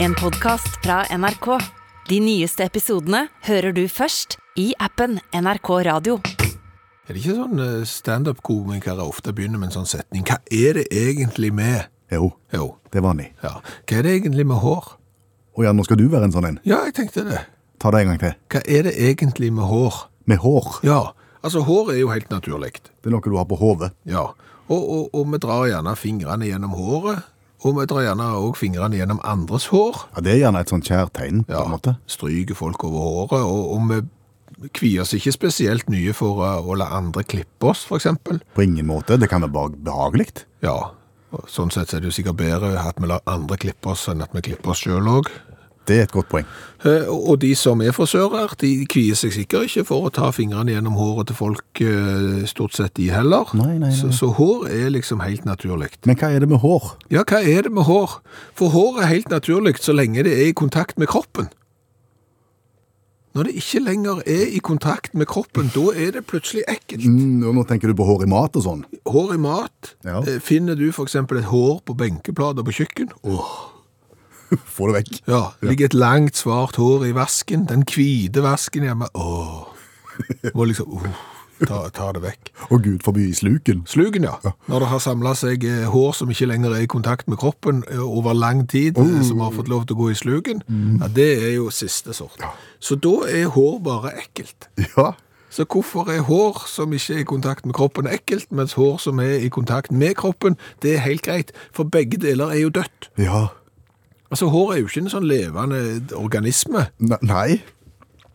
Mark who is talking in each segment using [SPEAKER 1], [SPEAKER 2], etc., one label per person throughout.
[SPEAKER 1] En podcast fra NRK. De nyeste episodene hører du først i appen NRK Radio.
[SPEAKER 2] Er det ikke sånn eh, standup-komikere ofte begynner med en sånn setning? Hva er det egentlig med
[SPEAKER 3] Jo,
[SPEAKER 2] Jo,
[SPEAKER 3] det var ni.
[SPEAKER 2] ja. Hva er det egentlig med hår?
[SPEAKER 3] Å ja, nå skal du være en sånn en.
[SPEAKER 2] Ja, jeg tenkte det.
[SPEAKER 3] Ta det en gang til.
[SPEAKER 2] Hva er det egentlig med hår?
[SPEAKER 3] Med hår.
[SPEAKER 2] Ja, altså hår er jo helt naturlig.
[SPEAKER 3] Det er noe du har på hodet.
[SPEAKER 2] Ja. Og, og, og vi drar gjerne fingrene gjennom håret, og vi drar gjerne òg fingrene gjennom andres hår.
[SPEAKER 3] Ja, det er gjerne et sånn kjærtegn, på
[SPEAKER 2] Ja,
[SPEAKER 3] en måte.
[SPEAKER 2] stryker folk over håret, og, og vi kvier oss ikke spesielt mye for eh, å la andre klippe oss, for eksempel.
[SPEAKER 3] På ingen måte. Det kan være bare behagelig.
[SPEAKER 2] Ja, og sånn sett er det jo sikkert bedre at vi lar andre klippe oss enn at vi klipper oss sjøl òg.
[SPEAKER 3] Det er et godt poeng.
[SPEAKER 2] Og de som er frisører, de kvier seg sikkert ikke for å ta fingrene gjennom håret til folk, eh, stort sett de heller.
[SPEAKER 3] Nei, nei, nei.
[SPEAKER 2] Så, så hår er liksom helt naturlig.
[SPEAKER 3] Men hva er det med hår?
[SPEAKER 2] Ja, hva er det med hår? For hår er helt naturlig så lenge det er i kontakt med kroppen. Når det ikke lenger er i kontakt med kroppen, da er det plutselig ekkelt.
[SPEAKER 3] Mm, og nå tenker du på hår i mat og sånn.
[SPEAKER 2] Hår i mat.
[SPEAKER 3] Ja.
[SPEAKER 2] Eh, Finner du for eksempel et hår på benkeplater på kjøkken? Åh.
[SPEAKER 3] Få det vekk.
[SPEAKER 2] Ja, ligger et langt svart hår i vasken, den hvite vasken hjemme. Åh. Må liksom, uh, ta, ta det vekk.
[SPEAKER 3] Og gud forby i sluken.
[SPEAKER 2] Slugen, ja. Når det har samla seg eh, hår som ikke lenger er i kontakt med kroppen eh, over lang tid, eh, som har fått lov til å gå i slugen, ja, det er jo siste sort. Så da er hår bare ekkelt.
[SPEAKER 3] Ja.
[SPEAKER 2] Så hvorfor er hår som ikke er i kontakt med kroppen, ekkelt, mens hår som er i kontakt med kroppen, det er helt greit, for begge deler er jo dødt.
[SPEAKER 3] Ja.
[SPEAKER 2] Altså, hår er jo ikke en sånn levende organisme.
[SPEAKER 3] Ne- nei.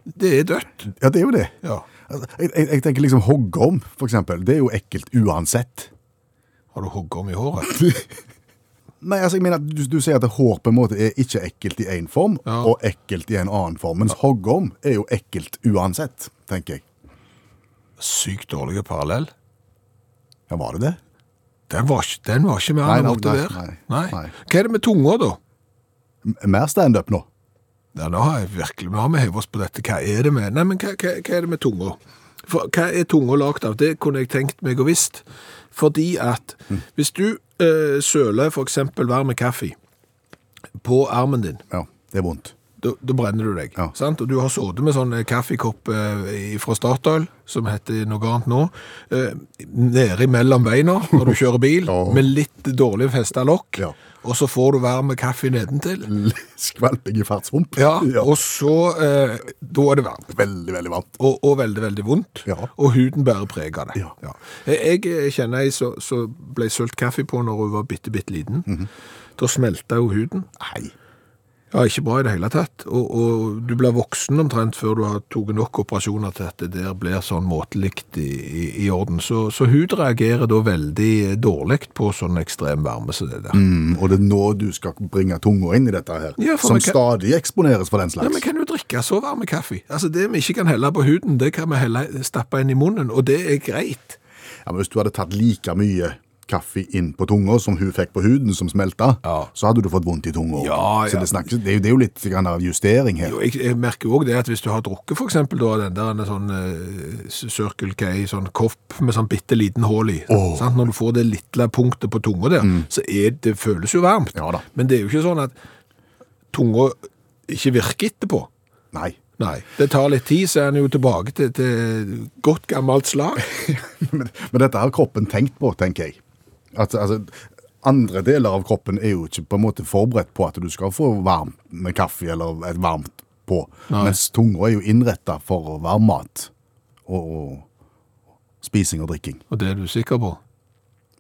[SPEAKER 2] Det er dødt.
[SPEAKER 3] Ja, det er jo det.
[SPEAKER 2] Ja.
[SPEAKER 3] Altså, Jeg, jeg, jeg tenker liksom hoggorm, for eksempel. Det er jo ekkelt uansett.
[SPEAKER 2] Har du hoggorm i håret?
[SPEAKER 3] Nei, altså jeg mener at du, du sier at hår på en måte er ikke ekkelt i én form,
[SPEAKER 2] Ja.
[SPEAKER 3] og ekkelt i en annen form. Mens hoggorm er jo ekkelt uansett, tenker jeg.
[SPEAKER 2] Sykt dårlige parallell.
[SPEAKER 3] Ja, var det det?
[SPEAKER 2] Den var, ikke- den var ikke mer
[SPEAKER 3] Nei,
[SPEAKER 2] enn den
[SPEAKER 3] nei,
[SPEAKER 2] måtte
[SPEAKER 3] nei,
[SPEAKER 2] være.
[SPEAKER 3] nei,
[SPEAKER 2] Nei.
[SPEAKER 3] nei.
[SPEAKER 2] Hva er det med tunga, da?
[SPEAKER 3] M- Mer standup nå.
[SPEAKER 2] Ja, nå har jeg virkelig, nå har vi hevet oss på dette. Hva er det med? Nei, men hva, hva, hva er det med tunga? For, hva er tunga lagt av? Det kunne jeg tenkt meg å visst. Fordi at
[SPEAKER 3] Mm.
[SPEAKER 2] hvis du eh, søler for eksempel varme kaffe på armen din,
[SPEAKER 3] Ja, det er vondt.
[SPEAKER 2] da, da brenner du deg.
[SPEAKER 3] Ja.
[SPEAKER 2] Sant? Og du har sittet med sånn eh, kaffekopp eh, i- fra Statoil, som heter noe annet nå, eh, nede mellom beina når du kjører bil,
[SPEAKER 3] Ja.
[SPEAKER 2] med litt dårlig festa lokk,
[SPEAKER 3] Ja.
[SPEAKER 2] og så får du varm kaffe nedentil.
[SPEAKER 3] Skvalping i fartshump.
[SPEAKER 2] Ja,
[SPEAKER 3] Og
[SPEAKER 2] og så eh, Da er det varmt.
[SPEAKER 3] veldig, veldig varmt.
[SPEAKER 2] Og, og veldig, veldig vondt.
[SPEAKER 3] Ja.
[SPEAKER 2] Og huden bærer preg av det.
[SPEAKER 3] Ja.
[SPEAKER 2] Jeg, jeg kjenner ei som som ble sølt kaffe på når hun var bitte, bitte liten.
[SPEAKER 3] Mhm.
[SPEAKER 2] Da smelta jo huden.
[SPEAKER 3] Nei.
[SPEAKER 2] Ja, ikke bra i det hele tatt. Og, og du blir voksen omtrent før du har tatt nok operasjoner til at det der blir sånn måtelikt i, i, i orden. Så, så hud reagerer da veldig dårlig på sånn ekstrem varme som det der.
[SPEAKER 3] Mm, og det er nå du skal bringe tunga inn i dette her,
[SPEAKER 2] Ja, for
[SPEAKER 3] som
[SPEAKER 2] vi kan-
[SPEAKER 3] stadig eksponeres for den
[SPEAKER 2] Ja,
[SPEAKER 3] slags.
[SPEAKER 2] men kan du drikke så varme kaffe? Altså, det vi ikke kan helle på huden, det kan vi helle, stappe inn i munnen, og det er greit.
[SPEAKER 3] Ja, men hvis du hadde tatt like mye kaffe inn på tunga som hun fikk på huden, som smelta,
[SPEAKER 2] Ja.
[SPEAKER 3] så hadde du fått vondt i tunga. også.
[SPEAKER 2] Ja,
[SPEAKER 3] Så
[SPEAKER 2] ja.
[SPEAKER 3] det, snakkes, det, er jo, det er jo litt grann av justering her.
[SPEAKER 2] Jo, jeg, jeg merker jo også det at hvis du har drukket for eksempel da, den der en sånn eh, Circle K, sånn kopp med sånn bitte liten hål i,
[SPEAKER 3] Åh. Mm.
[SPEAKER 2] sant? når du får det lille punktet på tunga der, så er, det føles jo varmt.
[SPEAKER 3] Ja da.
[SPEAKER 2] Men det er jo ikke sånn at tunga ikke virker etterpå.
[SPEAKER 3] Nei.
[SPEAKER 2] Nei, det tar litt tid, så er den jo tilbake til, til godt gammelt slag.
[SPEAKER 3] Men, men dette har kroppen tenkt på, tenker jeg. At, altså, andre deler av kroppen er jo ikke på en måte forberedt på at du skal få varmt med kaffe eller et varmt på. Mens tunga er jo innretta for varm mat og, og spising og drikking.
[SPEAKER 2] Og det er du sikker på?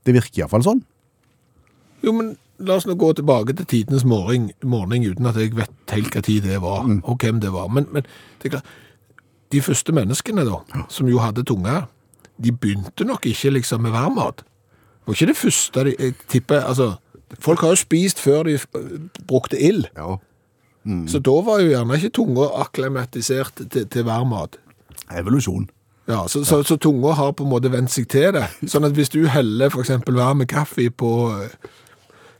[SPEAKER 3] Det virker iallfall sånn.
[SPEAKER 2] Jo, men la oss nå gå tilbake til tidenes morgen, morgen uten at jeg vet helt hva tid det var, og hvem det var. Men, men det er klart, de første menneskene da, som jo hadde tunge, de begynte nok ikke liksom med varmmat. Det var ikke det første de jeg tipper, altså, folk har jo spist før de øh, brukte ild,
[SPEAKER 3] Ja.
[SPEAKER 2] så da var jo gjerne ikke tunga akklimatisert til, til varmmat.
[SPEAKER 3] Evolusjon.
[SPEAKER 2] Ja, så, så, så tunga har på en måte vent seg til det. Sånn at hvis du heller for eksempel varme kaffe på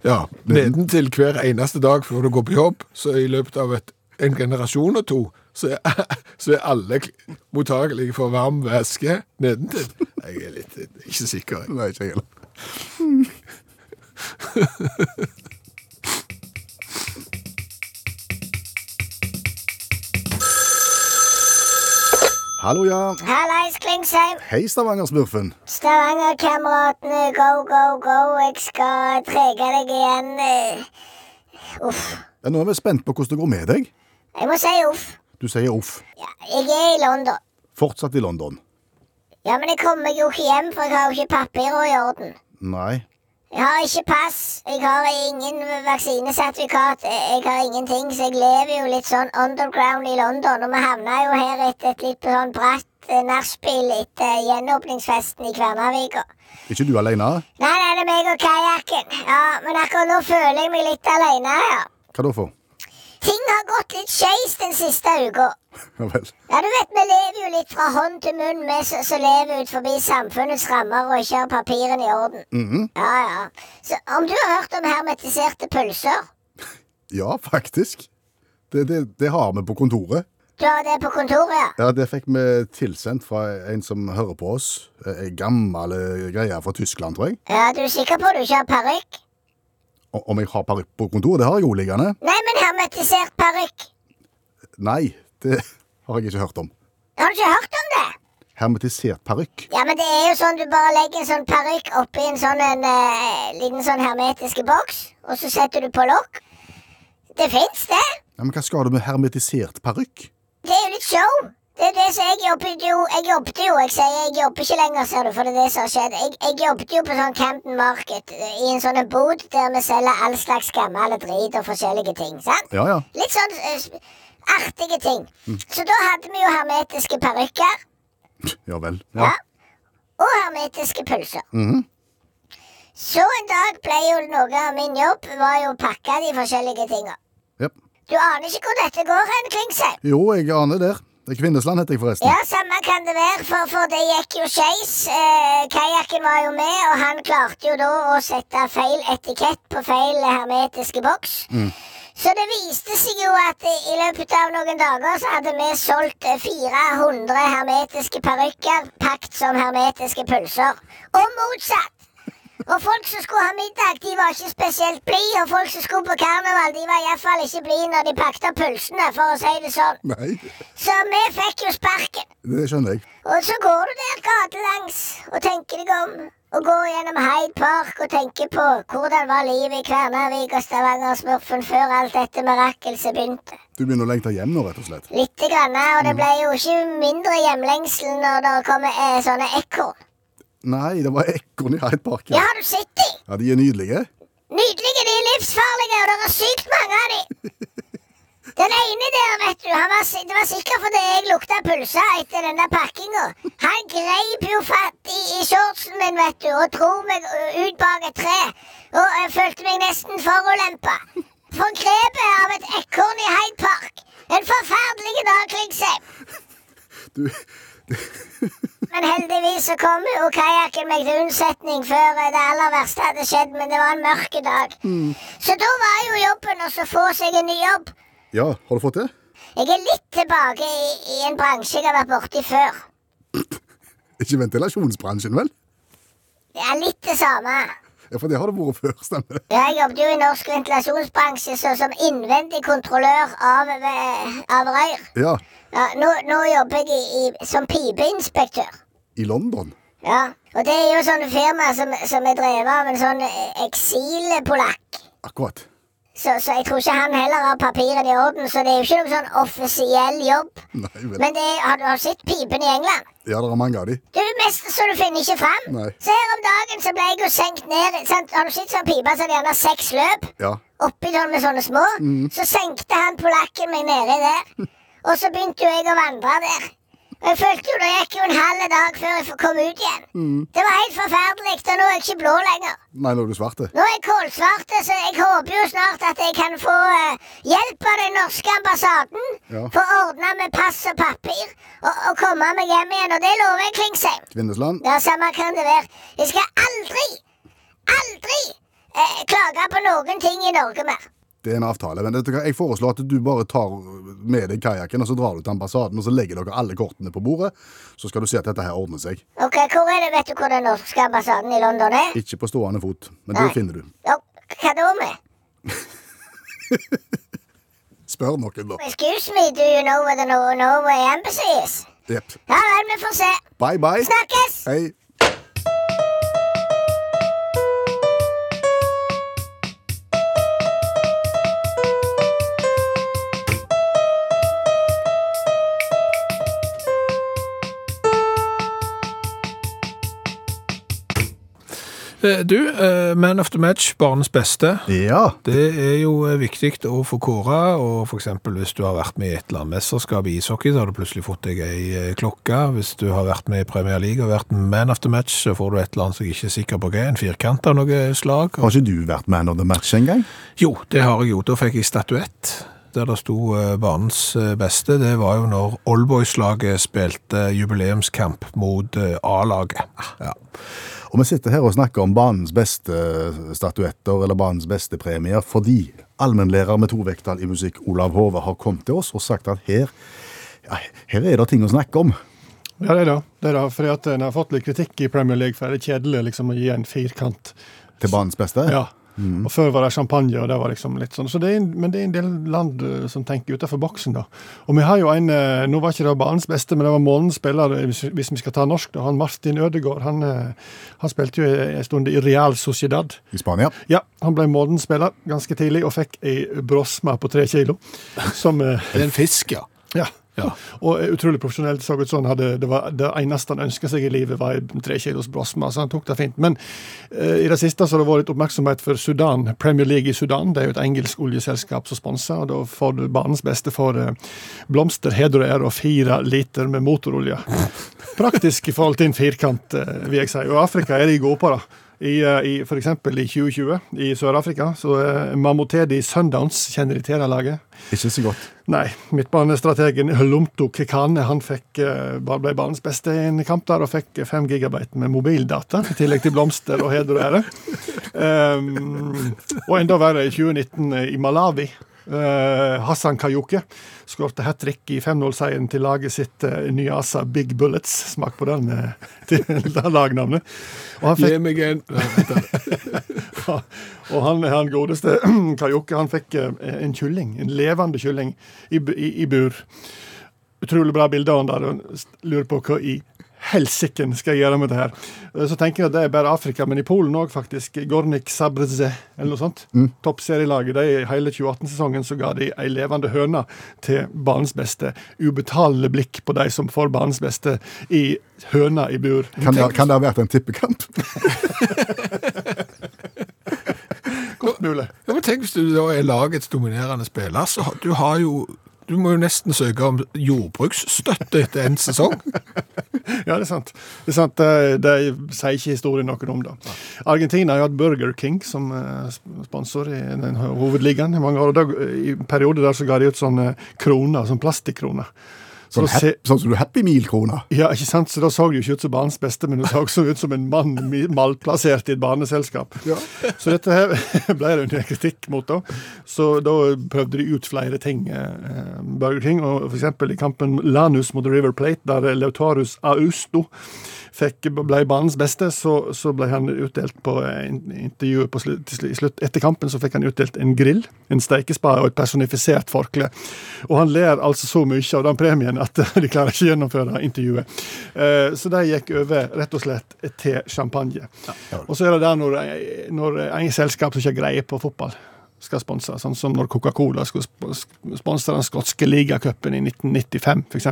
[SPEAKER 2] ja, nedentil hver eneste dag før du går på jobb, så i løpet av et, en generasjon og to, så er, så er alle kl- mottagelige for varm væske nedentil. Jeg er litt ikke sikker. jeg.
[SPEAKER 3] Nei, ikke jeg heller. Hallo, ja.
[SPEAKER 4] Hallais, Klingsheim.
[SPEAKER 3] Hei, Stavanger-smurfen.
[SPEAKER 4] Stavanger-kameratene, go, go, go. Jeg skal trege deg igjen. eh. Uff.
[SPEAKER 3] Ja, nå er vi spent på hvordan det går med deg.
[SPEAKER 4] Jeg må si uff.
[SPEAKER 3] Du sier uff.
[SPEAKER 4] Ja, jeg er i London.
[SPEAKER 3] Fortsatt i London.
[SPEAKER 4] Ja, men jeg kommer meg jo ikke hjem, for jeg har jo ikke papirene i orden.
[SPEAKER 3] Nei.
[SPEAKER 4] Jeg har ikke pass, jeg har ingen vaksinesertifikat, eh, jeg har ingenting, så jeg lever jo litt sånn underground i London, og vi havna jo her etter et litt sånn bratt eh, nachspiel etter gjenåpningsfesten i Kvernavika.
[SPEAKER 3] Ikke du alene?
[SPEAKER 4] Nei, nei, det er meg og kajakken. Ja, men akkurat nå føler jeg meg litt alene her.
[SPEAKER 3] Hva da for?
[SPEAKER 4] Ting har gått litt skeis den siste uka.
[SPEAKER 3] Ja vel.
[SPEAKER 4] Ja, du vet, vi lever jo litt fra hånd til munn, vi som- som lever ut forbi samfunnets rammer og ikke har papirene i orden. Ja, ja. Så om du har hørt om hermetiserte pølser?
[SPEAKER 3] Ja, faktisk. Det, det, det har vi på kontoret.
[SPEAKER 4] Du har det på kontoret, ja?
[SPEAKER 3] Ja, Det fikk vi tilsendt fra en som hører på oss. Ei gammel eh, greie fra Tyskland, tror jeg.
[SPEAKER 4] Ja, Du er sikker på at du ikke har parykk?
[SPEAKER 3] O- Om jeg har parykk på kontoret? Det har jeg jo liggende.
[SPEAKER 4] Nei, men hermetisert parykk.
[SPEAKER 3] Nei, det har jeg ikke hørt om.
[SPEAKER 4] Har du ikke hørt om det?
[SPEAKER 3] Hermetisert parykk.
[SPEAKER 4] Ja, men det er jo sånn du bare legger en sånn parykk oppi en sånn en, eh, liten sånn hermetiske boks, og så setter du på lokk. Det fins, det.
[SPEAKER 3] Ja, men hva skal du med hermetisert parykk?
[SPEAKER 4] Det er jo litt show. Det er det som jeg jobbet jo Jeg jobbet jo, jeg sier jeg jobber ikke lenger, ser du, for det er det som har skjedd. Jeg, jeg jobbet jo på sånn Camden Market, eh, i en sånn en bod der vi selger all slags gammel drit og forskjellige ting. sant?
[SPEAKER 3] Ja, ja.
[SPEAKER 4] Litt sånn eh, sp- artige ting. Så da hadde vi jo hermetiske parykker
[SPEAKER 3] Ja vel.
[SPEAKER 4] ja. og hermetiske pølser. Så en dag ble jo noe av min jobb var jo å pakke de forskjellige tinga.
[SPEAKER 3] Ja.
[SPEAKER 4] Du aner ikke hvor dette går hen, Klingsheim.
[SPEAKER 3] Jo, jeg aner der. Det er Kvinnesland heter jeg forresten.
[SPEAKER 4] Ja, samme kan det være, for, for det gikk jo skeis. Eh, Kajakken var jo med, og han klarte jo da å sette feil etikett på feil hermetiske boks. Så det viste seg jo at i i løpet av noen dager så hadde vi solgt eh, 400 hermetiske parykker pakket som hermetiske pølser. Og motsatt. Og folk som skulle ha middag, de var ikke spesielt blide. Og folk som skulle på karneval, de var iallfall ikke blide når de pakket pølsene, for å si det sånn.
[SPEAKER 3] Nei,
[SPEAKER 4] Så vi fikk jo sparken.
[SPEAKER 3] det skjønner jeg.
[SPEAKER 4] Og så går du der gatelangs og tenker deg om. Og går gjennom Hyde Park og tenker på hvordan var livet i Kvernavik og Stavanger-smurfen før alt dette mirakelset begynte.
[SPEAKER 3] Du begynner å lengte hjem nå, rett og slett.
[SPEAKER 4] Lite grann, og det ble jo ikke mindre hjemlengsel når det kommer eh, sånne ekorn.
[SPEAKER 3] Nei, det var ekorn i Hyde Park.
[SPEAKER 4] Ja, har du sett de?
[SPEAKER 3] ja, de er nydelige.
[SPEAKER 4] Nydelige, de er livsfarlige, og det er sykt mange av de. Den ene der, vet du, han var, si- det var sikkert fordi jeg lukta pølse etter den der pakkinga. Han greip jo fatt i, i shortsen min, vet du, og dro meg ø, ut bak et tre. Og jeg følte meg nesten forulempa. For grepet av et ekorn i Hyde Park. En forferdelig dag, Klingsheim.
[SPEAKER 3] Du,
[SPEAKER 4] Men heldigvis så kom jo kajakken meg til unnsetning før det aller verste hadde skjedd, men det var en mørk dag. Så da var jo jobben også å få seg en ny jobb.
[SPEAKER 3] ja, har du fått det?
[SPEAKER 4] Jeg er litt tilbake i, i en bransje jeg har vært borti før.
[SPEAKER 3] Ikke ventilasjonsbransjen, vel?
[SPEAKER 4] Det er litt det samme.
[SPEAKER 3] Ja, for det har det vært før, stemmer det?
[SPEAKER 4] Jeg jobbet jo i norsk ventilasjonsbransje så som innvendig kontrollør av, eh, av rør.
[SPEAKER 3] Ja,
[SPEAKER 4] Ja, nå, nå jobber jeg i, i, som pipeinspektør.
[SPEAKER 3] i London.
[SPEAKER 4] Ja, Og det er jo sånne firma som, som er drevet av en sånn eh, eksilpolakk.
[SPEAKER 3] Akkurat.
[SPEAKER 4] Så, så jeg tror ikke han heller har papirene i orden, så det er jo ikke noen sånn offisiell jobb.
[SPEAKER 3] Nei vel.
[SPEAKER 4] Men det er, har du har sett pipen i England?
[SPEAKER 3] Ja, det er mange av de.
[SPEAKER 4] Du, mest så du finner ikke fram.
[SPEAKER 3] Nei.
[SPEAKER 4] Så her om dagen så ble jeg jo senkt ned sant? Har du sett sånn pipe som gjerne har seks løp?
[SPEAKER 3] Ja.
[SPEAKER 4] Oppi sånn med sånne små? Så senkte han polakken meg nedi der. Og så begynte jo jeg å vandre der. Og jeg følte jo det gikk jo en halv dag før jeg kom ut igjen. Det var helt forferdelig, og nå er jeg ikke blå lenger.
[SPEAKER 3] Nei, nå er du svarte.
[SPEAKER 4] Nå er jeg kålsvarte, så jeg håper jo snart at jeg kan få eh, hjelp av den norske ambassaden.
[SPEAKER 3] Ja.
[SPEAKER 4] Få ordna med pass og papir og, og komme meg hjem igjen. Og det lover jeg Klingsheim.
[SPEAKER 3] Kvinnesland.
[SPEAKER 4] Ja, samme kan det være. Jeg skal aldri, aldri eh, klage på noen ting i Norge mer.
[SPEAKER 3] Det er en avtale. Men vet du hva, jeg foreslår at du bare tar med deg kajakken, og så drar du til ambassaden, og så legger dere alle kortene på bordet. Så skal du se at dette her ordner seg.
[SPEAKER 4] Ok, Hvor er det? Vet du hvor den norske ambassaden i London er?
[SPEAKER 3] Ikke på stående fot, men
[SPEAKER 4] Nei.
[SPEAKER 3] det finner du.
[SPEAKER 4] Ja, hva da med?
[SPEAKER 3] Spør noen, da.
[SPEAKER 4] Excuse me, do you know where the Nor- Norway embassy is?
[SPEAKER 3] Jepp.
[SPEAKER 4] Ja vel, vi får se.
[SPEAKER 3] Bye, bye.
[SPEAKER 4] Snakkes!
[SPEAKER 3] Hei.
[SPEAKER 2] Eh, Du, eh, Man of the Match, barnets beste.
[SPEAKER 3] Ja.
[SPEAKER 2] Det er jo eh, viktig å få kåre, og for eksempel hvis du har vært med i et eller annet mesterskap i ishockey, så har du plutselig fått deg ei eh, klokke. Hvis du har vært med i Premier League og vært man of the match, så får du et eller annet som jeg ikke er sikker på hva er, en firkant av noe slag.
[SPEAKER 3] Har ikke du vært man of the match engang?
[SPEAKER 2] Jo, det har jeg gjort. Da fikk jeg statuett. Der det sto eh, banens eh, beste, det var jo når Oldboys-laget spilte jubileumskamp mot eh, A-laget. Ja.
[SPEAKER 3] Og vi sitter her og snakker om banens beste eh, statuetter eller banens beste premier fordi allmennlærer med tovekttall i musikk Olav Hove har kommet til oss og sagt at her, ja, her er det ting å snakke om.
[SPEAKER 5] Ja, det er det. det, er det fordi at en har fått litt kritikk i Premier League for det er kjedelig liksom, å gi en firkant.
[SPEAKER 3] Til banens beste?
[SPEAKER 5] Ja. Og Før var det champagne, og det var liksom litt sånn. Så det er, en- men det er en del land eh, som tenker utenfor boksen, da. Og vi har jo en eh, Nå var ikke det banens beste, men det var månedens spiller, eh, hvis, hvis vi skal ta norsk. da, Han Martin Ødegaard han, eh, han spilte jo en stund i Real Sociedad.
[SPEAKER 3] I Spania.
[SPEAKER 5] Ja, han ble månedens spiller ganske tidlig, og fikk ei brosma på tre kilo. Som eh,
[SPEAKER 2] Er det en fisk, ja?
[SPEAKER 5] Ja.
[SPEAKER 2] Ja.
[SPEAKER 5] Og er utrolig profesjonell. så ut sånn hadde, det, var, det eneste han ønska seg i livet, var en tre kilos brosma, så han tok det fint. Men eh, i det siste så har det vært litt oppmerksomhet for Sudan. Premier League i Sudan det er jo et engelsk oljeselskap som sponser, og da får du banens beste for eh, blomster, heder og ære og fire liter med motorolje. Praktisk i forhold til en firkant, eh, vil jeg si. Og Afrika er de gode på, da. I, eh, i, for eksempel i 2020 i Sør-Afrika. Så eh, Mamotedi Sundowns kjenner de til det laget.
[SPEAKER 3] Ikke så godt.
[SPEAKER 5] Nei, midtbanestrategen Lomto Kekane han fikk, eh, bare ble banens beste i en kamp der og fikk eh, 5 gigabyte med mobildata, i tillegg til blomster og heder og ære. Ehm, og enda verre, i 2019 i Malawi. eh, Hassan Kayoke skårte hat trick i 5-0-seieren til laget sitt eh, Nyasa Big Bullets. Smak på den eh, til det lagnavnet. Og han fikk
[SPEAKER 2] Gi meg en Nei, vent da.
[SPEAKER 5] ja, og han, han godeste Kajokke, han fikk eh, en kylling, en levende kylling, i, bu- i, i bur. Utrolig bra bilde av han der, og s- lurer på hva i helsiken skal jeg gjøre med det her. Eh, Så tenker jeg at det er bare Afrika, men i Polen òg, faktisk. Gornik Sabrze, eller noe sånt. Toppserielaget. De, i hele 2018-sesongen så ga de ei levende høne til banens beste. Ubetalende blikk på de som får banens beste i høna i bur.
[SPEAKER 3] Kan det, kan det ha vært en tippekamp?
[SPEAKER 5] Godt mulig.
[SPEAKER 2] Ja, men tenk hvis du da er lagets dominerende spiller, så har- du har jo du må jo nesten søke om jordbruksstøtte etter en sesong.
[SPEAKER 5] Ja, det er sant. Det er sant. eh, De sier ikke historien noen om det. Argentina har jo hatt Burger King som eh, sp- sponsor i den ho- hovedligaen i mange år. og da, I perioder der så ga de ut sånne kroner, sånn plastikkroner. Så
[SPEAKER 3] Sånn,
[SPEAKER 5] da se-
[SPEAKER 3] hap, sånn som du Happy Meal-krona?
[SPEAKER 5] ja, ikke sant? Så da så det jo ikke ut som banens beste, men det så også ut som en mann mi- malplassert i et baneselskap. Så dette her ble det under kritikk mot, da. Så da prøvde de ut flere ting. eh, Burger King, og for eksempel i kampen Lanus mot River Plate, der Lautarus Austo fikk, ble banens beste, så, så ble han utdelt på eh, in- intervjuet på slutt, til slu- i slutt, etter kampen så fikk han utdelt en grill, en steikespade og et personifisert forkle. Og han ler altså så mye av den premien at de klarer ikke å gjennomføre intervjuet. Eh, Så de gikk over rett og slett til champagne. Og så er det der når, når en selskap som ikke har greie på fotball skal sponse, sånn som når Coca-Cola skulle sp- sk- sponse den skotske ligacupen i 1995, f.eks.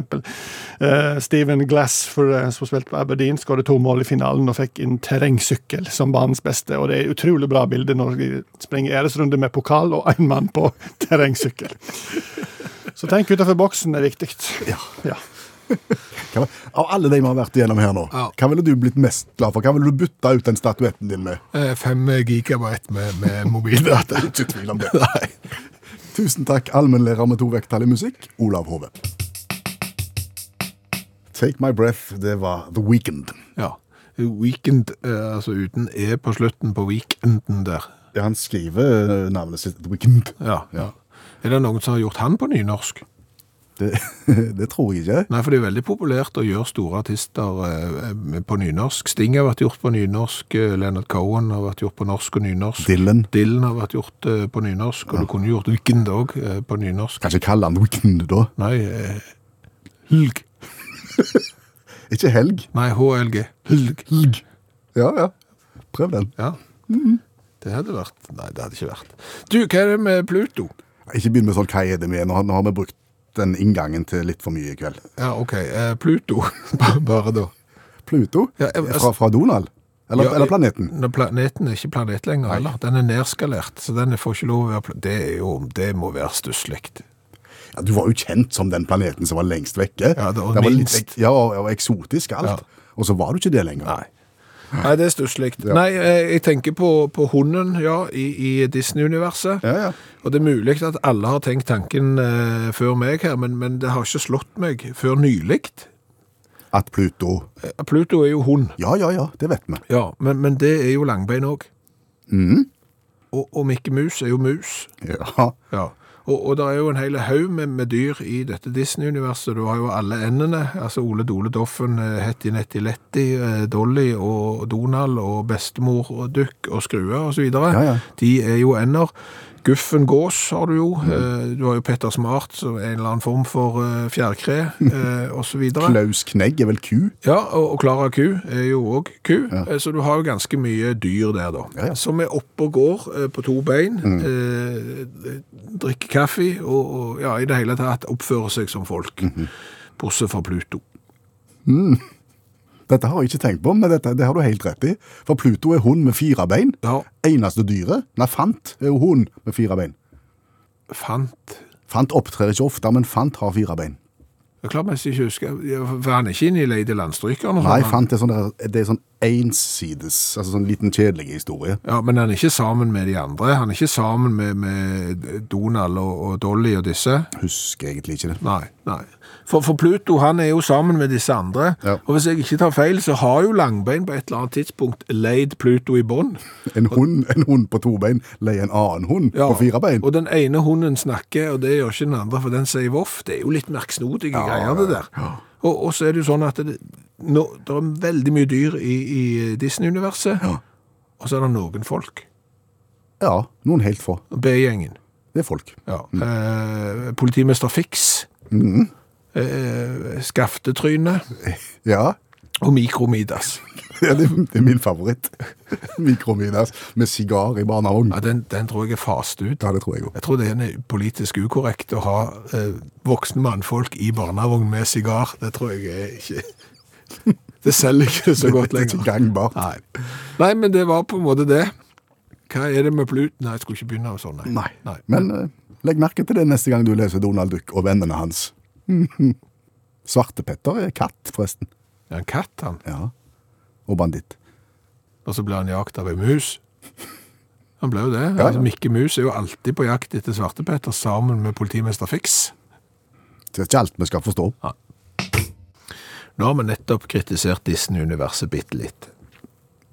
[SPEAKER 5] Uh, Steven Glass, for, eh, som spilte på Aberdeen, skåret to mål i finalen og fikk en terrengsykkel som banens beste. Og det er utrolig bra bilde når de springer æresrunde med pokal og én mann på terrengsykkel. Så tenk utenfor boksen er viktig.
[SPEAKER 3] Ja.
[SPEAKER 5] Ja.
[SPEAKER 3] Hva- Av alle de vi har vært igjennom her nå,
[SPEAKER 2] Ja.
[SPEAKER 3] hva ville du blitt mest glad for? Hva ville du bytta ut den statuetten din med?
[SPEAKER 2] Eh, Fem gigabyte med, med mobildata.
[SPEAKER 3] Ikke tvil om det. Nei. Tusen takk, allmennlærer med to vekttall i musikk, Olav Hove. Take My Breath, det var The Weekend.
[SPEAKER 2] Ja. Weekend, eh, altså uten E på slutten på weekenden der.
[SPEAKER 3] Ja, han skriver eh, navnet sitt The Weekend.
[SPEAKER 2] Ja. Er det noen som har gjort han på nynorsk?
[SPEAKER 3] Det, det tror jeg ikke.
[SPEAKER 2] Nei, for det er veldig populært å gjøre store artister eh, på nynorsk. Sting har vært gjort på nynorsk, eh, Leonard Cohen har vært gjort på norsk og nynorsk.
[SPEAKER 3] Dylan.
[SPEAKER 2] Dylan har vært gjort eh, på nynorsk, og du kunne gjort Weekend òg på nynorsk.
[SPEAKER 3] Kanskje kalle han The Weekend, da.
[SPEAKER 2] Nei eh, Hulg.
[SPEAKER 3] Ikke helg.
[SPEAKER 2] Nei, HLG. Hulg. Mm-hmm.
[SPEAKER 3] Helg. Ja, ja. Prøv den.
[SPEAKER 2] Ja. Det hadde vært Nei, det hadde ikke vært. Du, hva er det med Pluto?
[SPEAKER 3] Ikke begynn med sånn hva er det med? Nå har, nå har vi brukt den inngangen til litt for mye i kveld.
[SPEAKER 2] Ja, OK. Eh, Pluto, Bare- bare da.
[SPEAKER 3] Pluto?
[SPEAKER 2] Ja, jeg-
[SPEAKER 3] fra, fra Donald? Eller,
[SPEAKER 2] Ja,
[SPEAKER 3] eller planeten?
[SPEAKER 2] Når planeten er ikke planet lenger heller. Den er nedskalert, så den får ikke lov å være pla- Det, er jo, det må være stusslig.
[SPEAKER 3] Ja, du var jo kjent som den planeten som var lengst vekke.
[SPEAKER 2] Ja, det var
[SPEAKER 3] Den
[SPEAKER 2] minst.
[SPEAKER 3] ek- ja, og, og eksotisk alt. Og så var du ikke det lenger.
[SPEAKER 2] Nei. Nei, det er stusslig.
[SPEAKER 3] Ja.
[SPEAKER 2] Nei, eh, jeg tenker på, på hunden, ja, i, i Disney-universet.
[SPEAKER 3] Ja, ja.
[SPEAKER 2] Og det er mulig at alle har tenkt tanken eh, før meg her, men, men det har ikke slått meg før nylig.
[SPEAKER 3] At Pluto
[SPEAKER 2] Eh, Pluto er jo hund,
[SPEAKER 3] Ja, ja, ja, det vet vi. Mm.
[SPEAKER 2] ja, men, men det er jo langbein òg. Og, og Mikke Mus er jo mus.
[SPEAKER 3] Ja.
[SPEAKER 2] Ja. Og, og det er jo en hel haug med, med dyr i dette Disney-universet. Du har jo alle endene. Altså Ole Dole Doffen, eh, Hetty Netty Letty, eh, Dolly og Donald og bestemor og Duck og Skrue osv.
[SPEAKER 3] Ja, ja.
[SPEAKER 2] De er jo ender. Guffen Gås har du jo.
[SPEAKER 3] Mm.
[SPEAKER 2] Eh, Du har jo Petter Smart, som er en eller annen form for eh, fjærkre eh, osv.
[SPEAKER 3] Klaus Knegg er vel ku?
[SPEAKER 2] Ja, og og Klara Ku er jo òg ku, Eh, så du har jo ganske mye dyr der, da.
[SPEAKER 3] Ja, Mm. ja.
[SPEAKER 2] Som er oppe og går eh, på to bein, eh, drikker kaffe og, og ja, i det hele tatt oppfører seg som folk.
[SPEAKER 3] Mhm.
[SPEAKER 2] Bortsett fra Pluto.
[SPEAKER 3] Dette har jeg ikke tenkt på, men dette, det har du helt rett i. For Pluto er hund med fire bein.
[SPEAKER 2] Ja.
[SPEAKER 3] Eneste dyret Nei, fant er jo hund med fire bein.
[SPEAKER 2] Fant
[SPEAKER 3] Fant opptrer ikke ofte, men fant har fire bein.
[SPEAKER 2] Det er klart jeg ikke husker Ja, For han er ikke inne i Lady Landstrykeren? og sånn,
[SPEAKER 3] Nei,
[SPEAKER 2] han.
[SPEAKER 3] fant er sånn, der- det er sånn ensides, altså sånn liten kjedelig historie.
[SPEAKER 2] Ja, Men han er ikke sammen med de andre? Han er ikke sammen med, med Donald og, og Dolly og disse?
[SPEAKER 3] Husker egentlig ikke det.
[SPEAKER 2] Nei, nei. For, for Pluto han er jo sammen med disse andre,
[SPEAKER 3] Ja.
[SPEAKER 2] og hvis jeg ikke tar feil, så har jo Langbein på et eller annet tidspunkt leid Pluto i bånd.
[SPEAKER 3] En hund, en hund på to bein leier en annen hund på fire bein.
[SPEAKER 2] Og den ene hunden snakker, og det gjør ikke den andre, for den sier voff. Det er jo litt merksnodige greier, det der. Og, og så er det jo sånn at det, nå, det er veldig mye dyr i, i Disney-universet, og så er det noen folk.
[SPEAKER 3] Ja, noen helt få.
[SPEAKER 2] B-gjengen.
[SPEAKER 3] Det er folk.
[SPEAKER 2] Ja. Eh, politimester Fix.
[SPEAKER 3] Mm.
[SPEAKER 2] Eh, Skaftetryne
[SPEAKER 3] Ja,
[SPEAKER 2] og Mikromidas.
[SPEAKER 3] ja det, det er min favoritt. Mikromidas med sigar i barnevogn.
[SPEAKER 2] Ja, den, den tror jeg er fast ut.
[SPEAKER 3] Ja, det tror jeg òg.
[SPEAKER 2] Jeg tror det er politisk ukorrekt å ha eh, voksne mannfolk i barnevogn med sigar. Det tror jeg er ikke Det selger ikke så godt
[SPEAKER 3] Det er ikke
[SPEAKER 2] lenger.
[SPEAKER 3] gangbart.
[SPEAKER 2] Nei. Nei, men det var på en måte det. Hva er det med Pluto Nei, jeg skulle ikke begynne med sånn.
[SPEAKER 3] Nei. Men eh, legg merke til det neste gang du leser Donald Duck og vennene hans. Svartepetter er katt, forresten.
[SPEAKER 2] Det er en katt, han.
[SPEAKER 3] Ja. Og banditt.
[SPEAKER 2] Og så blir han jakt av ei mus. Han ble jo det.
[SPEAKER 3] Ja, ja.
[SPEAKER 2] Altså, Mikke Mus er jo alltid på jakt etter Svartepetter sammen med politimester Fiks.
[SPEAKER 3] Det er ikke alt vi skal forstå.
[SPEAKER 2] Nå har vi nettopp kritisert Disney-universet bitte litt.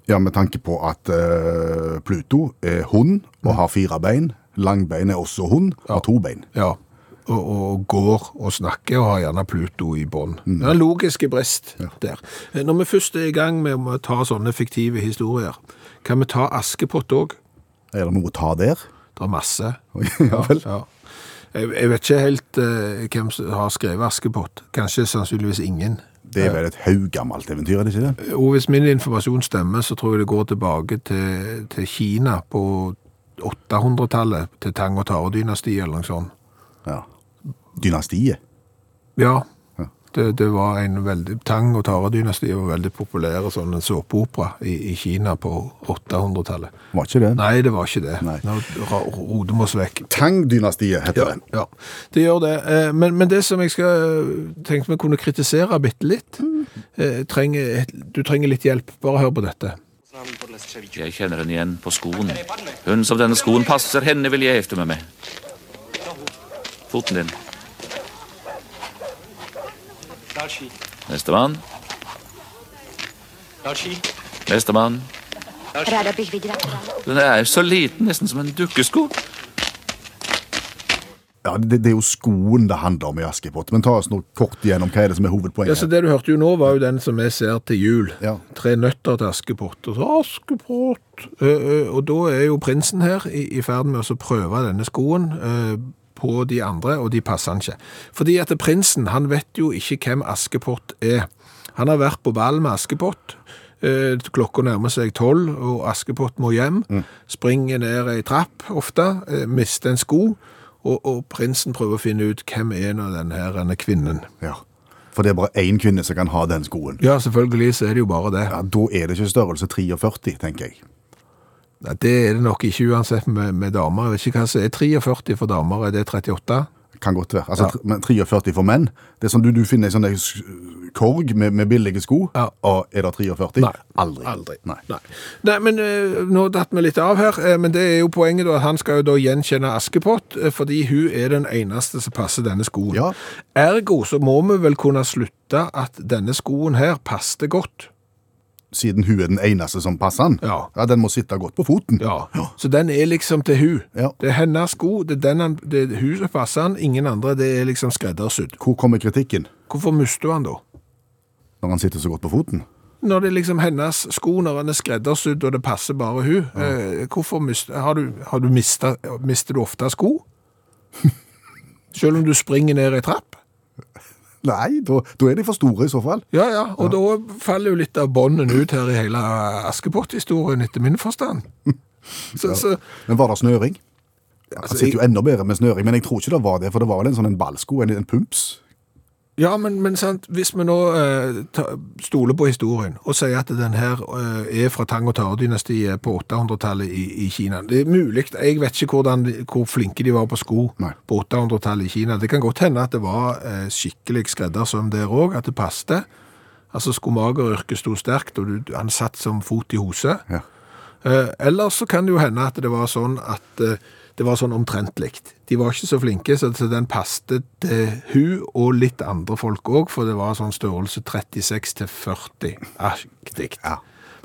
[SPEAKER 3] Ja, Med tanke på at eh, Pluto er hund og har fire bein. Langbein er også hund, har to bein.
[SPEAKER 2] Ja, og, og går og snakker og har gjerne Pluto i bånd.
[SPEAKER 3] Mm.
[SPEAKER 2] Det er en logiske brest der. Eh, Når vi først er i gang med å ta sånne fiktive historier, kan vi ta Askepott òg?
[SPEAKER 3] Er det noe å ta der?
[SPEAKER 2] Det er masse.
[SPEAKER 3] ja vel.
[SPEAKER 2] Ja. Jeg, jeg vet ikke helt eh, hvem som har skrevet Askepott. Kanskje sannsynligvis ingen. Eh,
[SPEAKER 3] Det er vel et haugammelt eventyr, er det ikke det?
[SPEAKER 2] Og hvis min informasjon stemmer, så tror jeg det går tilbake til, til Kina på 800-tallet, til Tang og Tare-dynastiet eller noe sånt.
[SPEAKER 3] Ja. Dynastiet.
[SPEAKER 2] Ja. Det, det var en veldig, Tang og Tare-dynastiet var veldig populære sånn en såpeopera i, i Kina på 800-tallet.
[SPEAKER 3] Var ikke det?
[SPEAKER 2] Nei, det var ikke det.
[SPEAKER 3] Nei.
[SPEAKER 2] Nå ra- roter vi oss vekk.
[SPEAKER 3] Tang-dynastiet heter det.
[SPEAKER 2] Ja, det gjør det. Eh, Men, men det som jeg skal eh, tenkte vi kunne kritisere bitte litt
[SPEAKER 3] Mm.
[SPEAKER 2] eh, trenger, Du trenger litt hjelp. Bare hør på dette.
[SPEAKER 6] Jeg kjenner henne igjen på skoen. Hun som denne skoen passer, henne vil jeg hefte meg med. Foten din.
[SPEAKER 7] Další,
[SPEAKER 6] Nestemann.
[SPEAKER 7] další,
[SPEAKER 6] Nestemann.
[SPEAKER 8] Ráda bych viděla krále.
[SPEAKER 6] Den er så liten, nesten som en dukkesko.
[SPEAKER 3] Ja, det, det er jo skoen det handler om i Askepott. Men ta oss nå kort igjennom hva er det som er
[SPEAKER 2] Ja, så
[SPEAKER 3] hovedpoenget.
[SPEAKER 2] Det du hørte jo nå, var jo den som vi ser til jul.
[SPEAKER 3] Ja.
[SPEAKER 2] Tre nøtter til Askepott. Og så Askepott! Eh, eh, og da er jo prinsen her i, i ferd med å så prøve denne skoen eh, på de andre, og de passer han ikke. Fordi at prinsen, han vet jo ikke hvem Askepott er. Han har vært på ball med Askepott. Eh, Klokka nærmer seg tolv, og Askepott må hjem.
[SPEAKER 3] Mm.
[SPEAKER 2] Springer ned ei trapp ofte, eh, mister en sko, og, og prinsen prøver å finne ut hvem er nå den her denne kvinnen.
[SPEAKER 3] Ja. For det er bare én kvinne som kan ha den skoen.
[SPEAKER 2] Ja, selvfølgelig så er det jo bare det.
[SPEAKER 3] Ja, Da er det ikke størrelse 43, tenker jeg.
[SPEAKER 2] Nei, Det er det nok ikke uansett med, med damer. Jeg vet ikke hva som er 43 for damer, er det 38?
[SPEAKER 3] Kan godt være. Altså, tr- men 43 for menn. Det er som du, du finner en sånn der s- korg med, med billige sko,
[SPEAKER 2] Ja.
[SPEAKER 3] og er det 43?
[SPEAKER 2] Nei.
[SPEAKER 3] Aldri.
[SPEAKER 2] Aldri.
[SPEAKER 3] Nei.
[SPEAKER 2] Nei, Nei men eh, nå datt vi litt av her, eh, men det er jo poenget da, at han skal jo da gjenkjenne Askepott, eh, fordi hun er den eneste som passer denne skoen.
[SPEAKER 3] Ja.
[SPEAKER 2] Ergo så må vi vel kunne slutte at denne skoen her passte godt.
[SPEAKER 3] Siden hun er den eneste som passer den.
[SPEAKER 2] Ja.
[SPEAKER 3] Den må sitte godt på foten.
[SPEAKER 2] Ja. Så den er liksom til hun.
[SPEAKER 3] Ja.
[SPEAKER 2] Det er hennes sko, det er, den han, det er hun som passer han, ingen andre, det er liksom skreddersydd.
[SPEAKER 3] Hvor kommer kritikken
[SPEAKER 2] Hvorfor mister han da?
[SPEAKER 3] når han sitter så godt på foten?
[SPEAKER 2] Når det er liksom hennes sko, når han er skreddersydd og det passer bare hun, eh, hvorfor mist, har du, har du mista, mister du ofte sko? Selv om du springer ned i trapp?
[SPEAKER 3] Nei, da, da er de for store i så fall.
[SPEAKER 2] Ja, ja, og da faller jo litt av bånden ut her i hele Askepott-historien, etter min forstand. Så, så
[SPEAKER 3] Men var det snøring?
[SPEAKER 2] Altså,
[SPEAKER 3] Han sitter jo enda bedre med snøring, men jeg tror ikke det var det, for det var vel en sånn en ballsko, en, en pumps?
[SPEAKER 2] Ja, men, men sant, hvis vi nå eh, ta, stoler på historien og sier at den her eh, er fra Tang og Tare-dynastiet på 800-tallet i, i Kina Det er mulig. Jeg vet ikke hvordan, de- hvor flinke de var på sko
[SPEAKER 3] Nei.
[SPEAKER 2] på 800-tallet i Kina. Det kan godt hende at det var eh, skikkelig skreddersøm der òg, at det passte. Altså skomageryrket sto sterkt, og du, han satt som fot i hose.
[SPEAKER 3] Ja.
[SPEAKER 2] Eh, ellers så kan det jo hende at det var sånn at eh, det var sånn omtrent likt. De var ikke så flinke, så, så den passte til hun og litt andre folk òg, for det var sånn størrelse 36 til 40-aktig.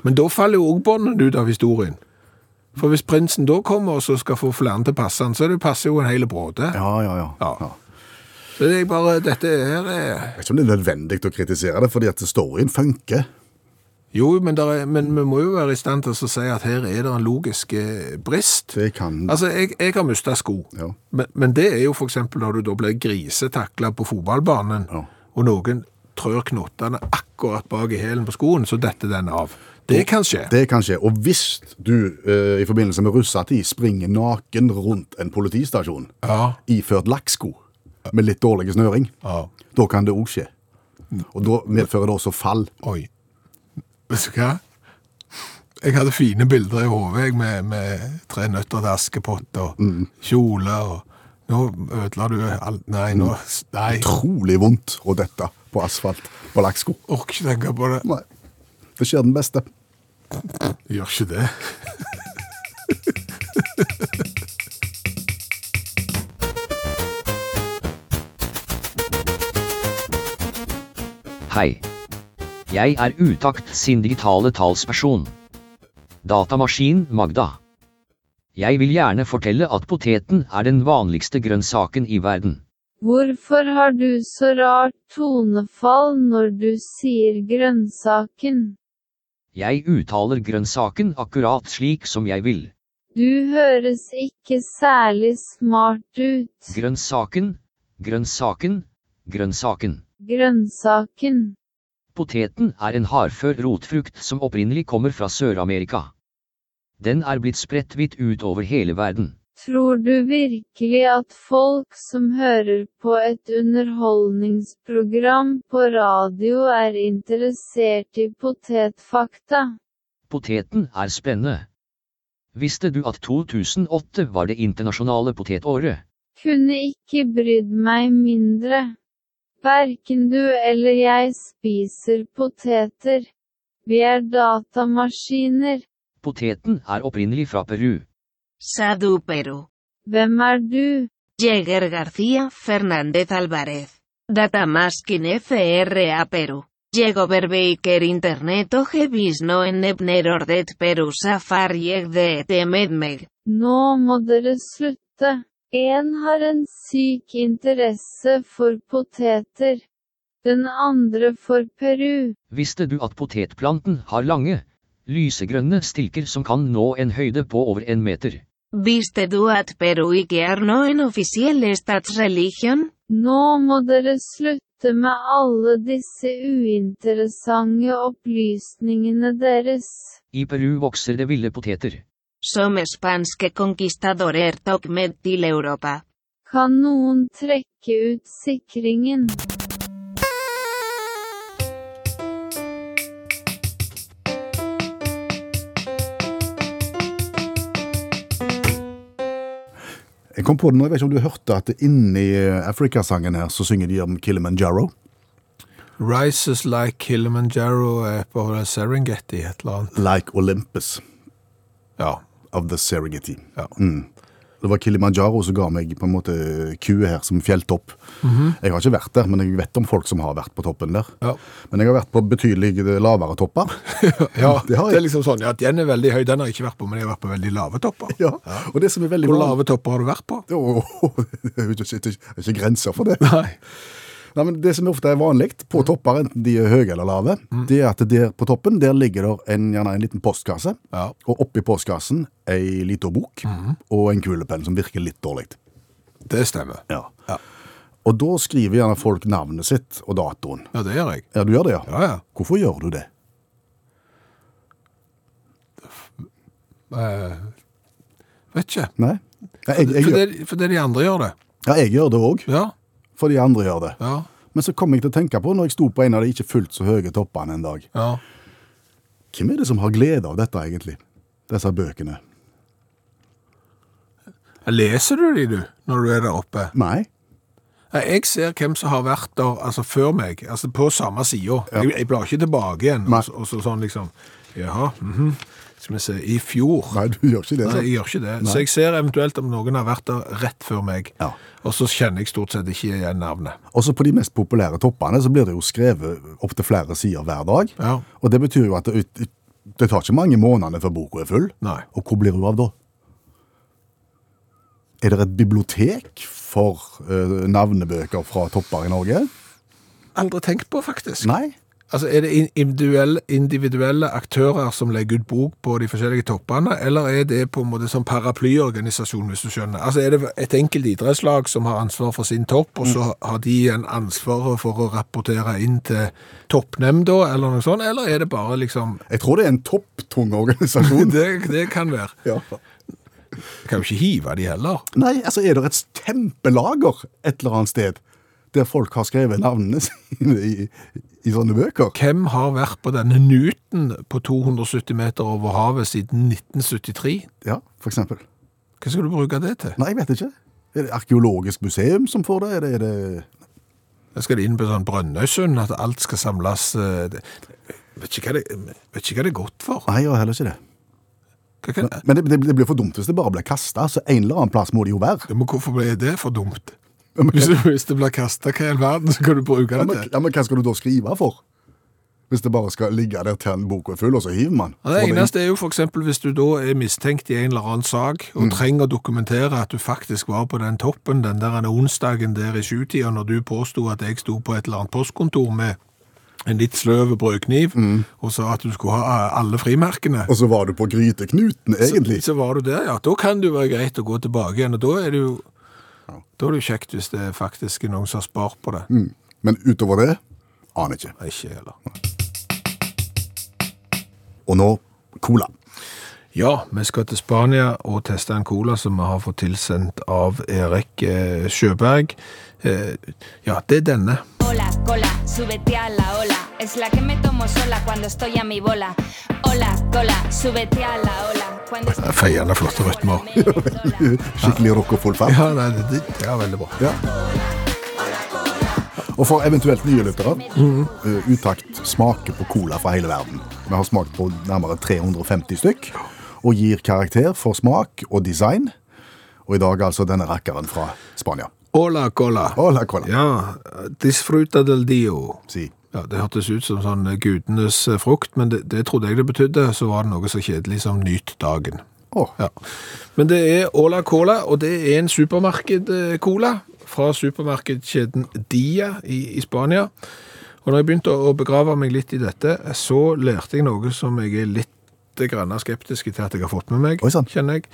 [SPEAKER 2] Men da faller jo òg bånden ut av historien. For hvis prinsen da kommer og så skal få flere til å passe han, så det passer jo en hel bråte.
[SPEAKER 3] Ja, ja, ja.
[SPEAKER 2] Ja.
[SPEAKER 3] Ja.
[SPEAKER 2] Så det er bare Dette her er eh,
[SPEAKER 3] Jeg vet ikke om det er nødvendig å kritisere det, fordi at storyen funker.
[SPEAKER 2] Jo, men, der er, men vi må jo være i stand til å si at her er det en logisk eh, brist.
[SPEAKER 3] Det kan
[SPEAKER 2] Altså, jeg, jeg har mista sko,
[SPEAKER 3] Ja.
[SPEAKER 2] men, men det er jo f.eks. når du da blir grisetakla på fotballbanen,
[SPEAKER 3] Ja.
[SPEAKER 2] og noen trør knottene akkurat bak i hælen på skoen, så detter den av. Det kan skje.
[SPEAKER 3] Det kan skje. Og hvis du eh, i forbindelse med russetid springer naken rundt en politistasjon
[SPEAKER 2] Ja.
[SPEAKER 3] iført lakksko med litt dårlig snøring,
[SPEAKER 2] Ja.
[SPEAKER 3] da kan det òg skje. Og da medfører det også fall.
[SPEAKER 2] Oi. Vet du hva? Jeg hadde fine bilder i hodet jeg, med, med tre nøtter til Askepott og
[SPEAKER 3] Mm.
[SPEAKER 2] kjole og Nå ødela du alt Nei, nå
[SPEAKER 3] Mm.
[SPEAKER 2] Nei.
[SPEAKER 3] Trolig vondt å dette på asfalt på lakksko.
[SPEAKER 2] Orker ikke tenke på det.
[SPEAKER 3] Nei. Det skjer den beste.
[SPEAKER 2] Gjør ikke det.
[SPEAKER 7] Hei. Jeg er Utakt sin digitale talsperson. Datamaskin Magda. Jeg vil gjerne fortelle at poteten er den vanligste grønnsaken i verden.
[SPEAKER 9] Hvorfor har du så rart tonefall når du sier grønnsaken?
[SPEAKER 7] Jeg uttaler grønnsaken akkurat slik som jeg vil.
[SPEAKER 9] Du høres ikke særlig smart ut.
[SPEAKER 7] Grønnsaken, grønnsaken, grønnsaken.
[SPEAKER 9] Grønnsaken.
[SPEAKER 7] Poteten er en hardfør rotfrukt som opprinnelig kommer fra Sør-Amerika. Den er blitt spredt vidt utover hele verden.
[SPEAKER 9] Tror du virkelig at folk som hører på et underholdningsprogram på radio er interessert i potetfakta?
[SPEAKER 7] Poteten er spennende. Visste du at 2008 var det internasjonale potetåret?
[SPEAKER 9] Kunne ikke brydd meg mindre. Verken du eller jeg spiser poteter. Vi er datamaskiner.
[SPEAKER 7] Poteten er opprinnelig fra Peru.
[SPEAKER 8] Sadu Perú.
[SPEAKER 9] Hvem er du?
[SPEAKER 8] Jäger García Fernández Álvarez. Datamaskin FRA Perú. Llego Berbeiker Internet Oje Bisno en Ebner Ordet Perú Safari Eg de Temedmeg.
[SPEAKER 9] Nå må dere slutte. En har en syk interesse for poteter. Den andre for Peru.
[SPEAKER 7] Visste du at potetplanten har lange, lysegrønne stilker som kan nå en høyde på over en meter?
[SPEAKER 8] Viste du at Peru i er noen offisiell statsreligion?
[SPEAKER 9] Nå må dere slutte med alle disse uinteressante opplysningene deres.
[SPEAKER 7] I Peru vokser det ville poteter.
[SPEAKER 8] Som spanske conquistadorer tok er med til Europa.
[SPEAKER 9] Kan noen trekke ut sikringen?
[SPEAKER 3] Jeg kom på det nå, jeg vet ikke om du hørte at inni Afrikasangen her, så synger de om Kilimanjaro.
[SPEAKER 2] Rises like Kilimanjaro er på Serengeti et eller annet.
[SPEAKER 3] Like Olympus
[SPEAKER 2] Ja.
[SPEAKER 3] of the Serengeti.
[SPEAKER 2] Ja.
[SPEAKER 3] Mm. Det var Kilimanjaro som ga meg på en måte kuet her som fjelltopp. Jeg har ikke vært der, men jeg vet om folk som har vært på toppen der.
[SPEAKER 2] Mhm. Ja.
[SPEAKER 3] Men jeg har vært på betydelig lavere topper.
[SPEAKER 2] ja
[SPEAKER 3] det
[SPEAKER 2] det,
[SPEAKER 3] har jeg.
[SPEAKER 2] er liksom sånn ja, at den er veldig høy. Den har jeg ikke vært på, men jeg har vært på veldig lave topper.
[SPEAKER 3] ja. Og det som er veldig
[SPEAKER 2] Hvor
[SPEAKER 3] bra-
[SPEAKER 2] lave topper har du vært på?
[SPEAKER 3] Åh, Det er jo ikke, ikke, ikke grenser for det. Nei. men Det som ofte er vanlig på
[SPEAKER 2] Mm.
[SPEAKER 3] topper, enten de er høye eller lave, det er at der på toppen der ligger det en, gjerne en liten postkasse,
[SPEAKER 2] Ja. Mm.
[SPEAKER 3] og oppi postkassen ei lita bok og en kulepenn som virker litt dårlig.
[SPEAKER 2] Det stemmer. Ja.
[SPEAKER 3] Og da skriver gjerne folk navnet sitt og datoen.
[SPEAKER 2] Ja, det gjør jeg.
[SPEAKER 3] Ja, du gjør det, ja?
[SPEAKER 2] Ja, ja.
[SPEAKER 3] Hvorfor gjør du det?
[SPEAKER 2] Eh, vet ikke.
[SPEAKER 3] Nei? Ja, jeg, jeg, gjør,
[SPEAKER 2] Fordi, fordi de andre gjør det.
[SPEAKER 3] ja, jeg gjør det òg,
[SPEAKER 2] Ja.
[SPEAKER 3] for de andre gjør det.
[SPEAKER 2] Ja.
[SPEAKER 3] Men så kom jeg til å tenke på, når jeg sto på en av de ikke fullt så høye toppene en dag,
[SPEAKER 2] ja.
[SPEAKER 3] Hvem er det som har glede av dette, egentlig? Disse bøkene?
[SPEAKER 2] Leser du de, du, når du er der oppe?
[SPEAKER 3] Nei.
[SPEAKER 2] Nei, Jeg ser hvem som har vært der altså før meg, altså på samme sida. Jeg, jeg blar ikke tilbake igjen.
[SPEAKER 3] Nei.
[SPEAKER 2] Og, så- og så sånn liksom Jaha, mhm. skal vi se I fjor
[SPEAKER 3] Nei, du gjør ikke det.
[SPEAKER 2] Nei,
[SPEAKER 3] sant?
[SPEAKER 2] jeg gjør ikke det. Så jeg ser eventuelt om noen har vært der rett før meg.
[SPEAKER 3] Ja.
[SPEAKER 2] Og så kjenner jeg stort sett ikke igjen navnet.
[SPEAKER 3] Også på de mest populære toppene så blir det jo skrevet opptil flere sider hver dag.
[SPEAKER 2] Ja.
[SPEAKER 3] Og det betyr jo at det, ut- det tar ikke mange månedene før boka er full.
[SPEAKER 2] Nei.
[SPEAKER 3] Og hvor blir hun av da? Er det et bibliotek for eh, navnebøker fra topper i Norge?
[SPEAKER 2] Aldri tenkt på, faktisk.
[SPEAKER 3] Nei.
[SPEAKER 2] Altså, Er det in- individuelle, individuelle aktører som legger ut bok på de forskjellige toppene, eller er det på en måte som paraplyorganisasjon, hvis du skjønner? Altså, Er det et enkelt idrettslag som har ansvar for sin topp, og så har de igjen ansvaret for å rapportere inn til toppnemnda, eller noe sånt, eller er det bare liksom
[SPEAKER 3] Jeg tror det er en topptung organisasjon.
[SPEAKER 2] Det, det kan være.
[SPEAKER 3] ja.
[SPEAKER 2] Kan jo ikke hive de heller.
[SPEAKER 3] Nei, altså er det et kjempelager et eller annet sted der folk har skrevet navnene sine i, i sånne bøker?
[SPEAKER 2] Hvem har vært på denne Newton på 270 meter over havet siden 1973?
[SPEAKER 3] Ja, for eksempel.
[SPEAKER 2] Hva skal du bruke det til?
[SPEAKER 3] Nei, jeg vet ikke. Er det arkeologisk museum som får det? Er det, er det...
[SPEAKER 2] Da skal det inn på sånn Brønnøysund, at alt skal samles eh, det- Vet ikke hva det, vet ikke hva det er godt for.
[SPEAKER 3] Nei, jeg har heller ikke det.
[SPEAKER 2] Hva kan, ja,
[SPEAKER 3] Men det, det, det blir for dumt hvis det bare blir kasta, så en eller annen plass må det jo være.
[SPEAKER 2] men hvorfor ble det for dumt? Hvis, du- hvis det blir kasta, hva i all verden skal du bruke
[SPEAKER 3] Ja
[SPEAKER 2] det
[SPEAKER 3] men,
[SPEAKER 2] til?
[SPEAKER 3] ja, men hva skal du da skrive for? Hvis det bare skal ligge der til en bok er full, og så hiver man?
[SPEAKER 2] Ja, Det
[SPEAKER 3] Og
[SPEAKER 2] eneste er jo f.eks. hvis du da er mistenkt i en eller annen sak,
[SPEAKER 3] Mm.
[SPEAKER 2] og trenger å dokumentere at du faktisk var på den toppen den der ene onsdagen der i sjutida, når du påsto at jeg sto på et eller annet postkontor med en litt sløv brødkniv,
[SPEAKER 3] Mm.
[SPEAKER 2] og sa at du skulle ha eh, alle frimerkene.
[SPEAKER 3] Og så var du på gryteknuten, egentlig.
[SPEAKER 2] Så, så var du der, ja. Da kan det jo være greit å gå tilbake igjen, og da er det jo da er det jo kjekt hvis det faktisk er noen som har spart på det.
[SPEAKER 3] Mm. Men utover det aner jeg ikke.
[SPEAKER 2] Nei, Ikke heller.
[SPEAKER 3] Og nå cola.
[SPEAKER 2] Ja, vi skal til Spania og teste en cola som vi har fått tilsendt av Erik eh, Sjøberg. Eh, ja, det er denne.
[SPEAKER 10] Hola, cola, súbete a la ola. Es la que me tomo sola cuando estoy a mi bola. Hola, cola, súbete a la ola. Cuando estoy
[SPEAKER 2] Feiende flotte rytmer.
[SPEAKER 3] Skikkelig rock og full fart.
[SPEAKER 2] Ja, nei, det, det ja, veldig bra.
[SPEAKER 3] Ja. Og for eventuelt nye lyttere, eh, Utakt smaker på cola fra hele verden. Vi har smakt på nærmere 350 stykk, og gir karakter for smak og design. Og i dag altså denne rakkeren fra Spania.
[SPEAKER 2] Hola, cola.
[SPEAKER 3] Hola, cola.
[SPEAKER 2] Ja, disfruta del dio.
[SPEAKER 3] Si.
[SPEAKER 2] Ja, Det hørtes ut som sånn gudenes frukt, men det, det trodde jeg det betydde. Så var det noe så kjedelig som nyt dagen.
[SPEAKER 3] Å,
[SPEAKER 2] Ja. Men det er Åla Cola, og det er en supermarked-cola fra supermarkedkjeden Dia i, i Spania. Og når jeg begynte å å begrave meg litt i dette, så lærte jeg noe som jeg er litt grann skeptisk til at jeg har fått med meg,
[SPEAKER 3] Oi, sann.
[SPEAKER 2] kjenner jeg.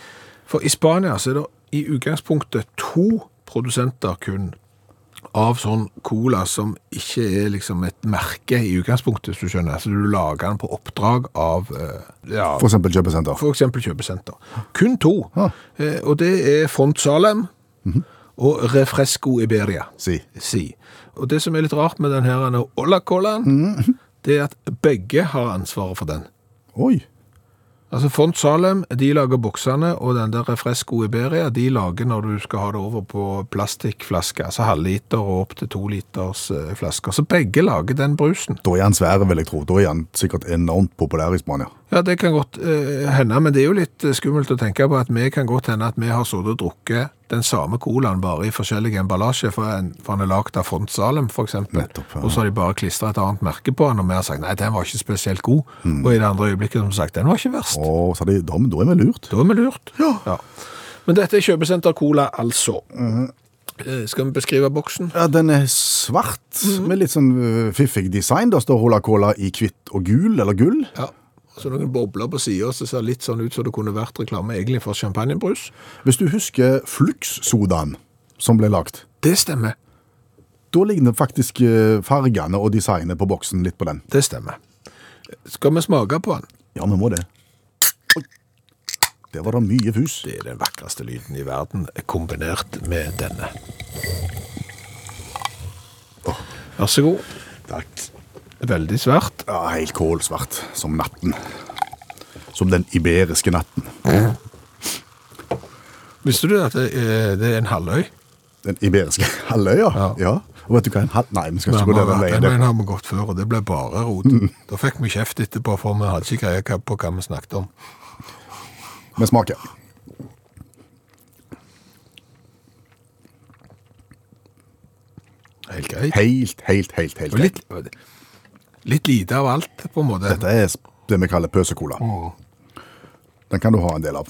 [SPEAKER 2] For i Spania så er det i utgangspunktet to produsenter kun av sånn cola som ikke er liksom et merke i utgangspunktet, hvis du skjønner. Så du lager den på oppdrag av eh, ja,
[SPEAKER 3] For eksempel kjøpesenter.
[SPEAKER 2] for eksempel kjøpesenter. Kun to. Eh, Og det er Font Salem og Refresco Iberia.
[SPEAKER 3] Si.
[SPEAKER 2] Si. Og det som er litt rart med den her denne Ola Colaen, det er at begge har ansvaret for den.
[SPEAKER 3] Oi.
[SPEAKER 2] Altså Font Salem, de lager boksene, og den der Refresco Iberia, de lager når du skal ha det over på plastikkflasker, altså halvliter og opp til to liters eh, flasker. Så begge lager den brusen.
[SPEAKER 3] Da er han svær, vil jeg tro. Da er han sikkert enormt populær i Spania.
[SPEAKER 2] Ja, det kan godt eh, hende, men det er jo litt eh, skummelt å tenke på at vi kan godt hende at vi har sittet og drukket den samme colaen bare i forskjellige emballasjer, for, en, for han er lagd av Font Salem, for eksempel.
[SPEAKER 3] Nettopp, ja.
[SPEAKER 2] Og så har de bare klistra et annet merke på han, og vi har sagt nei, den var ikke spesielt god.
[SPEAKER 3] Mm.
[SPEAKER 2] Og i det andre øyeblikket som sagt, den var ikke verst.
[SPEAKER 3] Og så er det, da, men da er vi lurt.
[SPEAKER 2] Da er vi lurt. Ja. Men dette er kjøpesenter Cola, altså.
[SPEAKER 3] Mm-hmm.
[SPEAKER 2] Eh, Skal vi beskrive boksen?
[SPEAKER 3] Ja, den er svart, med litt sånn øh, fiffig design. Da står Hola Cola i hvitt og gul, eller gull.
[SPEAKER 2] Ja. Så noen bobler på sida som ser litt sånn ut som det kunne vært reklame egentlig for champagnebrus.
[SPEAKER 3] Hvis du husker Flux-sodaen som ble lagt,
[SPEAKER 2] Det stemmer.
[SPEAKER 3] da ligner faktisk øh, fargene og designet på boksen litt på den.
[SPEAKER 2] Det stemmer. Skal vi smake på den?
[SPEAKER 3] Ja, vi må det. Oi. Der var det mye fus.
[SPEAKER 2] Det er den vakreste lyden i verden, kombinert med denne. Vær så god.
[SPEAKER 3] Takk.
[SPEAKER 2] Veldig svært.
[SPEAKER 3] Ja, helt kålsvart, som natten. Som den iberiske natten.
[SPEAKER 2] Visste du at det er, det er en halvøy?
[SPEAKER 3] Den iberiske halvøya? Ja. ja. Og vet du hva en halv... Nei, vi skal ikke gå der den veien. Mm.
[SPEAKER 2] Den
[SPEAKER 3] der.
[SPEAKER 2] veien har vi gått før, og det ble bare rot. Da fikk vi kjeft etterpå, for vi hadde ikke greie på hva vi snakket om.
[SPEAKER 3] Vi smaker.
[SPEAKER 2] Helt greit.
[SPEAKER 3] Helt, helt, helt, helt.
[SPEAKER 2] Og
[SPEAKER 3] greit.
[SPEAKER 2] litt, litt lite av alt, på en måte.
[SPEAKER 3] Dette er det vi kaller pøsekola. Den kan du ha en del av.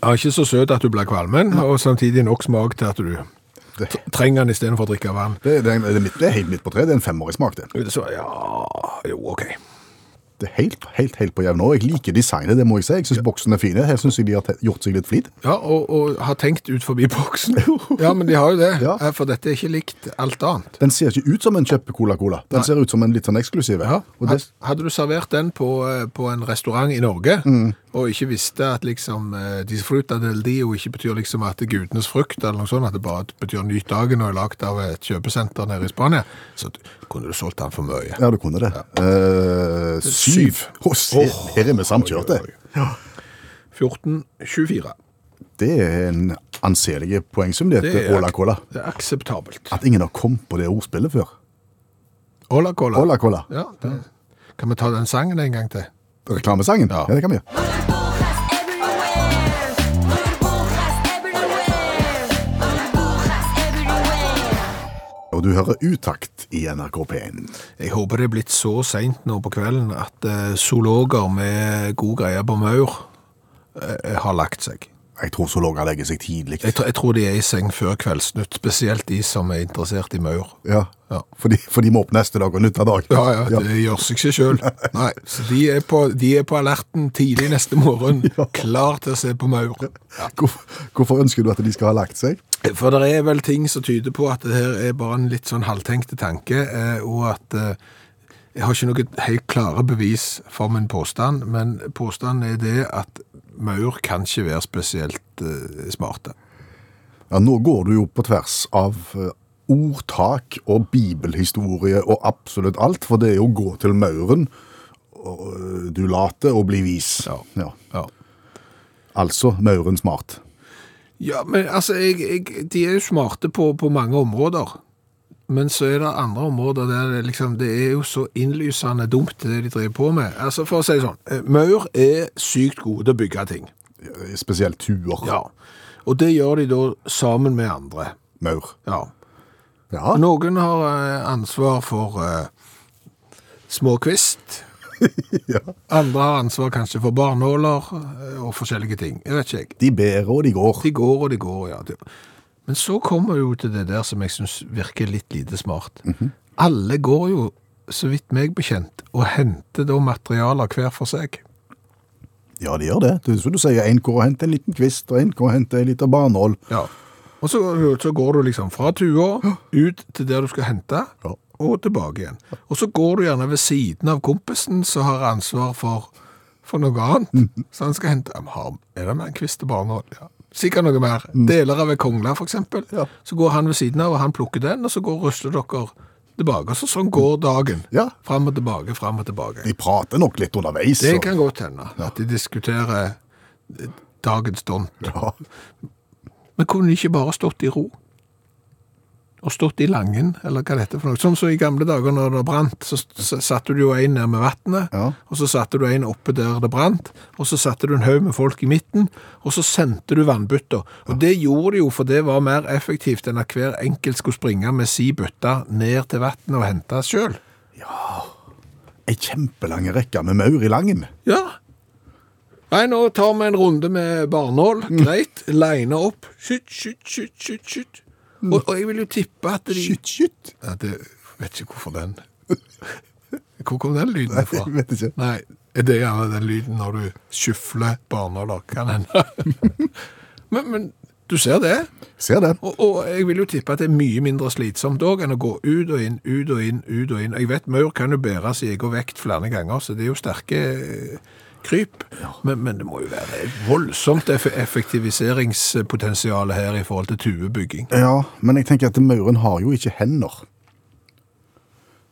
[SPEAKER 2] Ja, ikke så søt at du blir kvalmen, og samtidig nok smak til at du
[SPEAKER 3] Det,
[SPEAKER 2] trenger den istedenfor å drikke vann.
[SPEAKER 3] det, det, er midt, det er helt midt på treet. Det er en femårig smak, det.
[SPEAKER 2] Så ja Jo, OK.
[SPEAKER 3] Det er helt, helt, helt på jevn år. Jeg liker designet, det må jeg si. Jeg syns boksen er fine. Her syns jeg de har te- gjort seg litt flid.
[SPEAKER 2] Ja, og, og har tenkt ut forbi boksen. Ja, men de har jo det.
[SPEAKER 3] Ja.
[SPEAKER 2] Eh, For dette er ikke likt alt annet.
[SPEAKER 3] Den ser ikke ut som en kjøpe-cola-cola. Den ser ut som en litt sånn eksklusiv.
[SPEAKER 2] Ja,
[SPEAKER 3] Og det,
[SPEAKER 2] had- Hadde du servert den på, eh, på en restaurant i Norge, og ikke visste at liksom eh, disfruta del dio ikke betyr liksom at det er gudenes frukt, eller noe sånt, at det bare betyr nyt dagen og er lagd av et kjøpesenter nede i Spania, så du- kunne du solgt den for mye.
[SPEAKER 3] ja, du kunne det. Eh, syv. Å, se, her er vi samkjørte.
[SPEAKER 2] 1424.
[SPEAKER 3] Det er en anselig poengsum, det,
[SPEAKER 2] Det
[SPEAKER 3] til
[SPEAKER 2] er-
[SPEAKER 3] Åla-cola.
[SPEAKER 2] Det er akseptabelt.
[SPEAKER 3] At ingen har kommet på det ordspillet før.
[SPEAKER 2] Ola cola.
[SPEAKER 3] Åla-cola.
[SPEAKER 2] Ja, det. Kan vi ta den sangen en gang til?
[SPEAKER 3] Reklamesangen.
[SPEAKER 2] Ja.
[SPEAKER 3] Ja. det kan vi gjøre. Og du hører utakt i NRK P1.
[SPEAKER 2] Jeg håper det er blitt så seint nå på kvelden at eh, zoologer med god greie på maur eh, har lagt seg.
[SPEAKER 3] Jeg tror zoologer legger seg tidlig.
[SPEAKER 2] Jeg, tror- jeg tror de er i seng før Kveldsnytt, spesielt de som er interessert i maur.
[SPEAKER 3] Ja,
[SPEAKER 2] Ja.
[SPEAKER 3] For, de, for de må opp neste dag og nytt av dag.
[SPEAKER 2] Ja, ja, det gjør seg ikke sjøl. Nei, så de er, på, de er på alerten tidlig neste morgen, klar til å se på maur.
[SPEAKER 3] Hvorfor, hvorfor ønsker du at de skal ha lagt seg?
[SPEAKER 2] For det er vel ting som tyder på at det her er bare en litt sånn halvtenkte tanke, eh, og at eh, jeg har ikke noe helt klare bevis for min påstand, men påstanden er det at maur kan ikke være spesielt eh, smarte.
[SPEAKER 3] Ja, Nå går du jo på tvers av eh, ordtak og bibelhistorie og absolutt alt, for det er jo å gå til mauren, og, eh, du later og bli vis.
[SPEAKER 2] Ja.
[SPEAKER 3] Ja.
[SPEAKER 2] Ja.
[SPEAKER 3] Altså mauren smart.
[SPEAKER 2] Ja, men altså, jeg, jeg, de er jo smarte på, på mange områder. Men så er det andre områder der det, liksom, det er jo så innlysende dumt det de driver på med. Altså, For å si det sånn, eh, maur er sykt gode til å bygge ting.
[SPEAKER 3] Eh, Spesielt tuer.
[SPEAKER 2] Ja. Og det gjør de da sammen med andre.
[SPEAKER 3] Maur.
[SPEAKER 2] Ja.
[SPEAKER 3] Ja,
[SPEAKER 2] Noen har eh, ansvar for eh, småkvist.
[SPEAKER 3] Ja.
[SPEAKER 2] Andre har ansvar kanskje for barnåler eh, og forskjellige ting. Jeg vet ikke, jeg.
[SPEAKER 3] de ber og de går.
[SPEAKER 2] De går og de går, ja. Det- Men så kommer vi jo til det der som jeg syns virker litt lite smart. Alle går jo, så vidt meg bekjent, og henter da materialer hver for seg.
[SPEAKER 3] Ja, det gjør det. Det er som du sier, en går og henter en liten kvist, og en går og henter en liten barnål.
[SPEAKER 2] Ja. Og så, så går du liksom fra tua ut til der du skal hente,
[SPEAKER 3] Ja.
[SPEAKER 2] og tilbake igjen. Og så går du gjerne ved siden av kompisen som har ansvar for, for noe
[SPEAKER 3] Mhm.
[SPEAKER 2] annet. Så han skal hente «Jamen, har- Er det med en kvist til barnål? Ja. Sikkert noe mer. Deler av en kongle, for eksempel.
[SPEAKER 3] Mhm. Ja.
[SPEAKER 2] Så går han ved siden av, og han plukker den, og så går rusler dere tilbake. Og så sånn går dagen.
[SPEAKER 3] Ja.
[SPEAKER 2] Fram og tilbake, fram og tilbake.
[SPEAKER 3] De prater nok litt underveis.
[SPEAKER 2] Det
[SPEAKER 3] og-
[SPEAKER 2] kan godt hende, at de diskuterer eh, dagens dont.
[SPEAKER 3] Ja.
[SPEAKER 2] Men kunne de ikke bare stått i ro? Og stått i langen, eller hva dette er for noe? Sånn som i gamle dager når det brant, så s- satte du jo en ned med vattnet,
[SPEAKER 3] Ja.
[SPEAKER 2] og så satte du en oppe der det brant, og så satte du en haug med folk i midten, og så sendte du vannbytter. Og det gjorde de jo, for det var mer effektivt enn at hver enkelt skulle springe med si bøtte ned til vattnet og hente sjøl.
[SPEAKER 3] Ei kjempelang rekke med maur i langen.
[SPEAKER 2] Ja. Nei, nå tar vi en runde med barnål.
[SPEAKER 3] Mm.
[SPEAKER 2] Greit. Line opp. Skytt, skytt, skytt, skytt. skytt.
[SPEAKER 3] Mm.
[SPEAKER 2] Og, og jeg vil jo tippe at de
[SPEAKER 3] Skytt, skytt.
[SPEAKER 2] Ja, det vet ikke hvorfor den Hvor kom den lyden fra?
[SPEAKER 3] Jeg vet ikke.
[SPEAKER 2] Nei, er det gjerne den lyden når du skyfler barnåler? Kan hende. men, men du ser det.
[SPEAKER 3] Ser det.
[SPEAKER 2] Og, og jeg vil jo tippe at det er mye mindre slitsomt òg enn å gå ut og inn, ut og inn, ut og inn. Jeg vet maur kan jo bære sin egen vekt flere ganger, så det er jo sterke eh, kryp. Men, men det må jo være et voldsomt eff effektiviseringspotensial her i forhold til tuebygging.
[SPEAKER 3] Ja, men jeg tenker at mauren har jo ikke hender.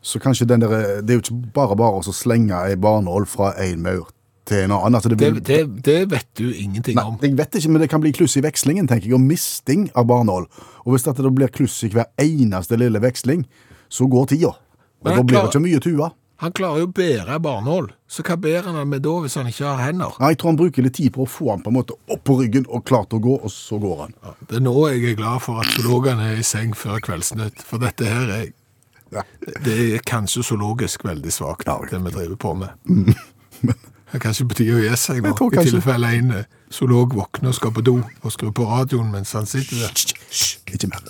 [SPEAKER 3] Så kanskje den der Det er jo ikke bare bare å slenge ei barnål fra én maur til en annen. Altså det
[SPEAKER 2] Det,
[SPEAKER 3] blir,
[SPEAKER 2] det, det vet du ingenting
[SPEAKER 3] Nei,
[SPEAKER 2] om.
[SPEAKER 3] jeg vet ikke, men det kan bli kluss i vekslingen, tenker jeg, og misting av barnål. Og hvis dette da blir kluss i hver eneste lille veksling, så går tida. Og
[SPEAKER 2] Men
[SPEAKER 3] da
[SPEAKER 2] han
[SPEAKER 3] blir
[SPEAKER 2] klarer-
[SPEAKER 3] det ikke mye tua.
[SPEAKER 2] Han klarer jo å bære barnål, så hva bærer han med da hvis han ikke har hender?
[SPEAKER 3] Nei, jeg tror han bruker litt tid på å få han på en måte opp på ryggen og klar til å gå, og så går han.
[SPEAKER 2] Det er nå jeg er glad for at zoologene er i seng før Kveldsnytt, for dette her er Det er kanskje zoologisk veldig svakt,
[SPEAKER 3] Ja, ok.
[SPEAKER 2] det vi driver på med. Det er kanskje på tide å gi seg nå,
[SPEAKER 3] Jeg tror
[SPEAKER 2] i
[SPEAKER 3] kanskje-
[SPEAKER 2] tilfelle en eh, zoolog våkner og skal på do og skrur på radioen mens han sitter der.
[SPEAKER 3] Ikke mer.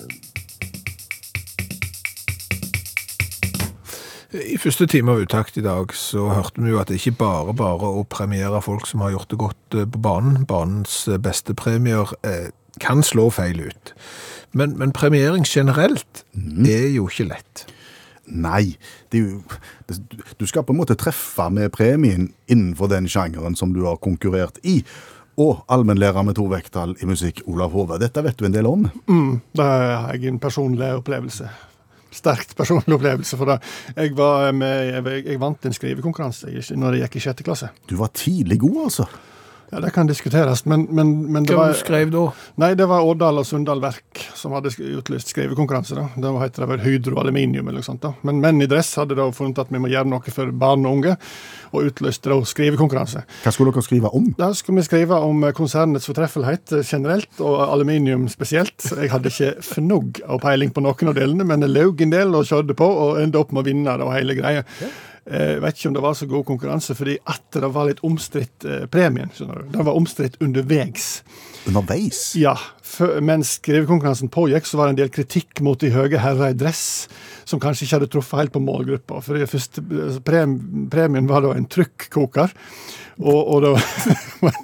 [SPEAKER 2] I første time av uttakt i dag så hørte vi jo at det ikke bare bare å premiere folk som har gjort det godt eh, på banen. Banens eh, beste premier eh, kan slå feil ut. Men, men premiering generelt er jo ikke lett.
[SPEAKER 3] Nei, det er jo, det- du skal på en måte treffe med premien innenfor den sjangeren som du har konkurrert i. Og allmennlærer med to vekttall i musikk, Olav Hove. Dette vet du en del om.
[SPEAKER 5] Mm, Da har jeg en personlig opplevelse. Sterkt personlig opplevelse for det. Jeg, var med, jeg, jeg vant en skrivekonkurranse i- når jeg gikk i sjette klasse.
[SPEAKER 3] Du var tidlig god, altså.
[SPEAKER 5] Ja, Det kan diskuteres, men, men, men det
[SPEAKER 2] Hva
[SPEAKER 5] var
[SPEAKER 2] du skrev da?
[SPEAKER 5] Nei, det var Årdal og Sunndal Verk som hadde sk- utlyst skrivekonkurranse. da. Det var- heter det vel Hydro Aluminium eller noe sånt. da. Men Menn i dress hadde da funnet at vi må gjøre noe for barn og unge, og utlyste da skrivekonkurranse.
[SPEAKER 3] Hva skulle dere skrive om?
[SPEAKER 5] Da skulle vi skrive om eh, konsernets fortreffelighet eh, generelt, og aluminium spesielt. Jeg hadde ikke fnugg av peiling på noen av delene, men jeg laug en del og kjørte på, og endte opp med å vinne det var hele greia. Jeg vet ikke om det var så god konkurranse, fordi at det var litt omstridt eh, premien. skjønner du. Den var omstridt underveis.
[SPEAKER 3] Underveis?
[SPEAKER 5] Ja, fø- mens skrivekonkurransen pågikk, så var det en del kritikk mot de høye herrer i dress, som kanskje ikke hadde truffet helt på målgruppa. For det første eh, prem, premien var da en trykkoker, og, og det var-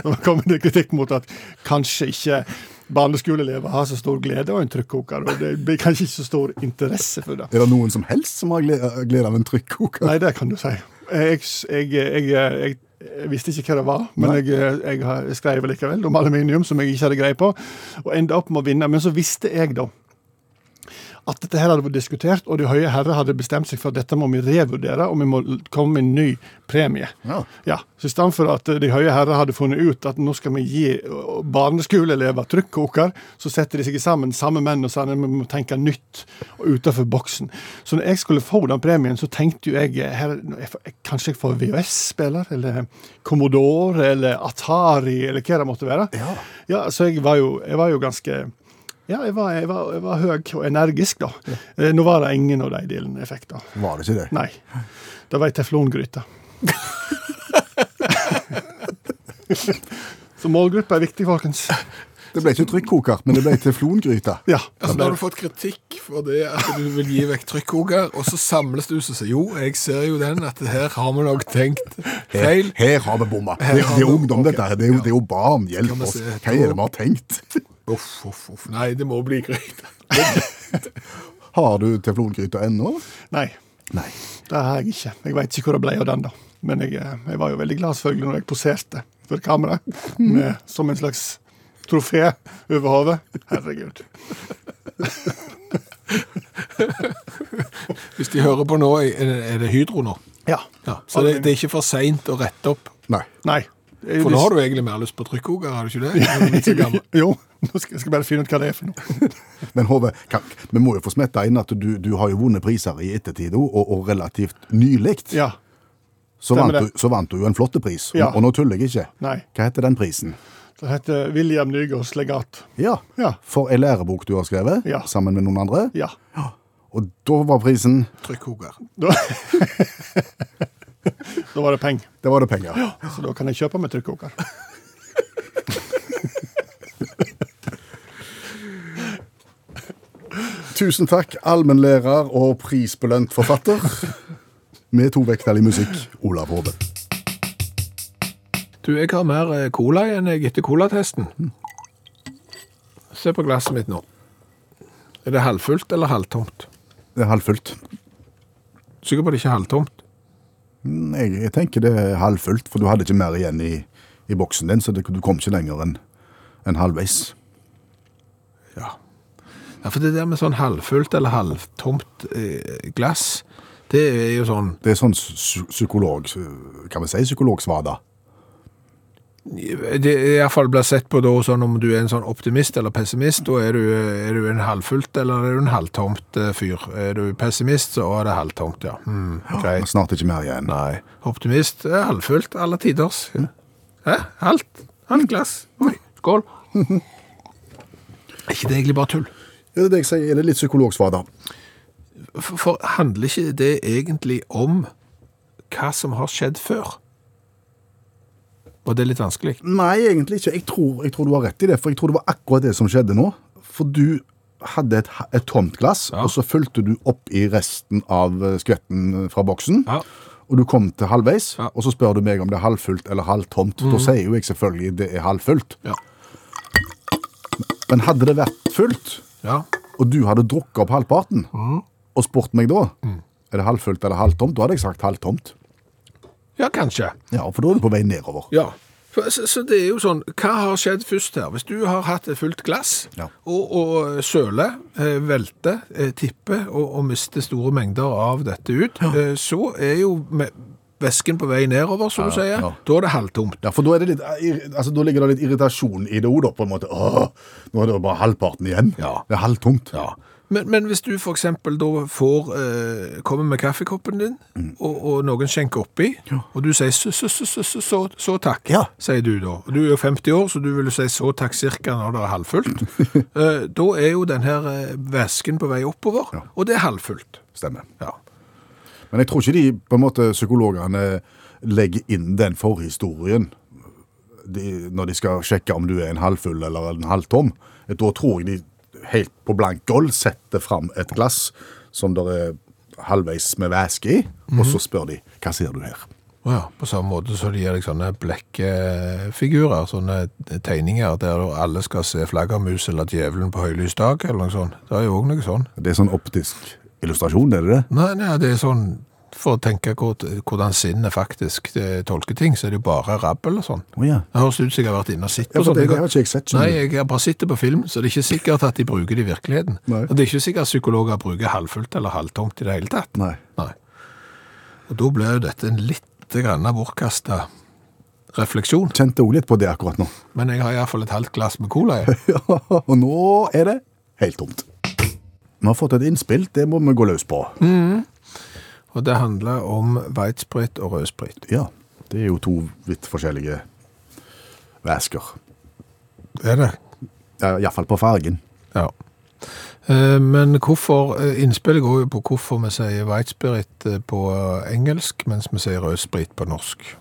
[SPEAKER 5] det kom en del kritikk mot at kanskje ikke barneskoleelever har så stor glede av en trykkoker, og det blir kanskje ikke så stor interesse for det.
[SPEAKER 3] Er det noen som helst som har gle- glede av en trykkoker?
[SPEAKER 5] Nei, det kan du si. Jeg, jeg, jeg, jeg, jeg visste ikke hva det var, men jeg, eh, jeg, har- jeg skrev likevel om aluminium, som jeg ikke hadde greie på, og endte opp med å vinne. Men så visste jeg da at dette her hadde vært diskutert, og de høye herrer hadde bestemt seg for at dette må vi revurdere, og vi må l- komme med en ny premie.
[SPEAKER 3] Ja.
[SPEAKER 5] Så i stedet for at de høye herrer hadde funnet ut at nå skal vi gi ø, barneskoleelever trykkoker, så setter de seg sammen, samme menn, og sa at vi må tenke nytt og utenfor boksen. Så når jeg skulle få den premien, så tenkte jo jeg eh, her, nå, jeg får- jeg- kanskje jeg får VHS-spiller, eller Commodore, eller Atari, eller hva det måtte være.
[SPEAKER 3] Ja.
[SPEAKER 5] Ja, så jeg var jo, jeg var jo ganske ja, jeg var, jeg, var, jeg var høy og energisk, da. Eh, Nå var det ingen av de delene jeg fikk, da.
[SPEAKER 3] Var det ikke det?
[SPEAKER 5] Nei. Det var ei teflongryte. Så målgruppa er viktig, folkens.
[SPEAKER 3] Det ble ikke trykkoker, men det ble teflongryte.
[SPEAKER 5] Ja.
[SPEAKER 2] Altså, da har du fått kritikk for det at du vil gi vekk trykkoker, og så samles du og sier jo, jeg ser jo den, at her har vi nok tenkt
[SPEAKER 3] Her,
[SPEAKER 2] feil.
[SPEAKER 3] her har vi bomma.
[SPEAKER 2] Her
[SPEAKER 3] Det,
[SPEAKER 2] har
[SPEAKER 3] det er
[SPEAKER 2] vi-
[SPEAKER 3] ungdom, dette her. Det er jo, det er jo barn.
[SPEAKER 2] Skal
[SPEAKER 3] Hjelp
[SPEAKER 2] vi
[SPEAKER 3] oss.
[SPEAKER 2] se,
[SPEAKER 3] Hva er det vi har tenkt?
[SPEAKER 2] Uff, uff, uff. Nei, det må bli greit.
[SPEAKER 3] Har du teflongryta ennå?
[SPEAKER 5] Nei,
[SPEAKER 3] Nei.
[SPEAKER 5] det har jeg ikke. Jeg veit ikke hvor det ble av den, da. Men jeg, eh, jeg var jo veldig glad selvfølgelig når jeg poserte for kamera
[SPEAKER 2] Mhm.
[SPEAKER 5] med, som en slags trofé over hodet. Herregud.
[SPEAKER 2] Hvis de hører på nå, er det- er det Hydro nå.
[SPEAKER 5] Ja.
[SPEAKER 2] Ja, så det, det er ikke for seint å rette opp.
[SPEAKER 3] Nei.
[SPEAKER 5] Nei.
[SPEAKER 2] For nå har du egentlig mer lyst på trykkoker, har du ikke det? Når du er blitt så gammel.
[SPEAKER 5] Jo, nå skal jeg skal bare finne ut hva det er for noe.
[SPEAKER 3] Men Hove, kan, vi må jo få smetta inn at du, du har jo vunnet priser i ettertid, og, og relativt nylig.
[SPEAKER 5] Ja,
[SPEAKER 3] så, vant
[SPEAKER 5] stemmer
[SPEAKER 3] du, så vant du jo en flott pris.
[SPEAKER 5] Ja.
[SPEAKER 3] Og, og nå tuller jeg ikke.
[SPEAKER 5] Nei.
[SPEAKER 3] Hva heter den prisen?
[SPEAKER 5] Det heter William Nygaards legat.
[SPEAKER 3] Ja.
[SPEAKER 5] Ja.
[SPEAKER 3] For en lærebok du har skrevet
[SPEAKER 5] Ja.
[SPEAKER 3] sammen med noen andre.
[SPEAKER 5] Ja.
[SPEAKER 3] Og da var prisen
[SPEAKER 2] Trykkoker.
[SPEAKER 5] Da, da var det penger.
[SPEAKER 3] Da var det penger.
[SPEAKER 5] Så da kan jeg kjøpe meg trykkoker.
[SPEAKER 3] Tusen takk, allmennlærer og prisbelønt forfatter. med tovektig musikk, Olav Hove.
[SPEAKER 2] Du, jeg har mer eh, cola igjen jeg etter colatesten. Se på glasset mitt nå. Er det halvfullt eller halvtomt?
[SPEAKER 3] Det er halvfullt.
[SPEAKER 2] Sikker på det ikke er halvtomt.
[SPEAKER 3] Mm, Jeg, jeg tenker det er halvfullt, for du hadde ikke mer igjen i, i boksen din, så det, du kom ikke lenger enn enn halvveis.
[SPEAKER 2] Ja. ja, for det der med sånn halvfullt eller halvtomt eh, glass, det er jo sånn
[SPEAKER 3] Det er sånn psy- psykolog, kan vi si psykologsvada.
[SPEAKER 2] Det i hvert fall blir sett på da sånn om du er en sånn optimist eller pessimist, da er du, eh, er du en halvfullt eller er du en halvtomt eh, fyr. Er du pessimist, så er det halvtomt, ja. Hmm,
[SPEAKER 3] Det er
[SPEAKER 2] greit.
[SPEAKER 3] Snart ikke mer igjen.
[SPEAKER 2] Nei. Optimist er halvfullt alle tiders. Hæ? Halvt? Halvt glass? Oi, skål. Er ikke det egentlig bare tull?
[SPEAKER 3] Ja, det er det jeg sier, er det litt psykologsvada?
[SPEAKER 2] For, for handler ikke det egentlig om hva som har skjedd før? Og det er litt vanskelig.
[SPEAKER 3] Nei, egentlig ikke. Jeg tror, jeg tror du har rett i det, for jeg tror det var akkurat det som skjedde nå. For du hadde et, ha- et tomt glass,
[SPEAKER 2] Ja.
[SPEAKER 3] og så fulgte du opp i resten av eh, skvetten fra boksen.
[SPEAKER 2] Ja.
[SPEAKER 3] Og du kom til halvveis,
[SPEAKER 2] Ja. Mhm.
[SPEAKER 3] og så spør du meg om det er halvfullt eller halvtomt. Da sier jo jeg selvfølgelig det er halvfullt.
[SPEAKER 2] Ja.
[SPEAKER 3] Men hadde det vært fullt,
[SPEAKER 2] Ja.
[SPEAKER 3] og du hadde drukket opp halvparten, og spurt meg da,
[SPEAKER 2] Mm.
[SPEAKER 3] er det halvfullt eller halvtomt, da hadde jeg sagt halvtomt.
[SPEAKER 2] Ja, kanskje.
[SPEAKER 3] Ja, for da er du på vei nedover.
[SPEAKER 2] Ja. For- Så, så det er jo sånn, hva har skjedd først her? Hvis du har hatt et fullt glass,
[SPEAKER 3] Ja.
[SPEAKER 2] og, og søler, eh, velter, eh, tipper og, og mister store mengder av dette ut, eh, så er jo me- væsken på vei nedover, som du sier.
[SPEAKER 3] ja.
[SPEAKER 2] Da er det halvtomt.
[SPEAKER 3] Ja, for da, er det litt, altså, da ligger det litt irritasjon i det òg, da, på en måte. Åh, nå er det bare halvparten igjen.
[SPEAKER 2] Ja.
[SPEAKER 3] Det er halvtomt.
[SPEAKER 2] Men, men hvis du for eksempel da får, eh, kommer med kaffekoppen din, og, og noen skjenker oppi, og du sier så, så, så, så, så, så, så takk,
[SPEAKER 3] Ja.
[SPEAKER 2] sier du da. Og du er jo 50 år, så du vil jo si så takk cirka når det er halvfullt. Eh, da er jo den her eh, væsken på vei oppover, og det er halvfullt.
[SPEAKER 3] Stemmer.
[SPEAKER 2] Ja.
[SPEAKER 3] Men jeg tror ikke de på en måte, psykologene legger inn den forhistorien de, når de skal sjekke om du er en halvfull eller en halvtom. Da tror jeg de helt på blank gulv setter fram et glass som det er halvveis med væske i, og så spør de hva ser du her.
[SPEAKER 2] Og ja, på samme måte så de gir deg sånne blekkfigurer, sånne eh, tegninger der alle skal se flaggermus eller djevelen på høylys dag, eller noe sånt. Det er jo også noe sånn.
[SPEAKER 3] Det er sånn optisk illustrasjon, er det det?
[SPEAKER 2] Nei, nei, det er sånn For å tenke hvor- hvordan sinnet faktisk eh, tolker ting, så er det jo bare rabbel og sånn.
[SPEAKER 3] Å ja.
[SPEAKER 2] Det høres ut som jeg har vært inne og sett på
[SPEAKER 3] Ja, for
[SPEAKER 2] sånn.
[SPEAKER 3] det- det har ikke jeg sett, skjønner
[SPEAKER 2] Nei, jeg har bare sittet på film, så det er ikke sikkert at de bruker det i virkeligheten.
[SPEAKER 3] Nei.
[SPEAKER 2] Og det er ikke sikkert psykologer bruker halvfullt eller halvtomt i det hele tatt.
[SPEAKER 3] Nei.
[SPEAKER 2] Nei. Og da ble jo dette en litt grann bortkasta refleksjon.
[SPEAKER 3] Kjente òg litt på det akkurat nå.
[SPEAKER 2] Men jeg har iallfall et halvt glass med cola. Jeg.
[SPEAKER 3] Ja, og nå er det helt tomt. Vi har fått et innspill, det må vi gå løs på.
[SPEAKER 2] Og det handler om hvitsprit og rødsprit.
[SPEAKER 3] Ja, det er jo to vidt forskjellige væsker.
[SPEAKER 2] Er det?
[SPEAKER 3] Ja, Iallfall på fargen.
[SPEAKER 2] Ja. Eh, Men hvorfor, eh, innspillet går jo på hvorfor vi sier white spirit eh, på engelsk, mens vi sier rød sprit på norsk.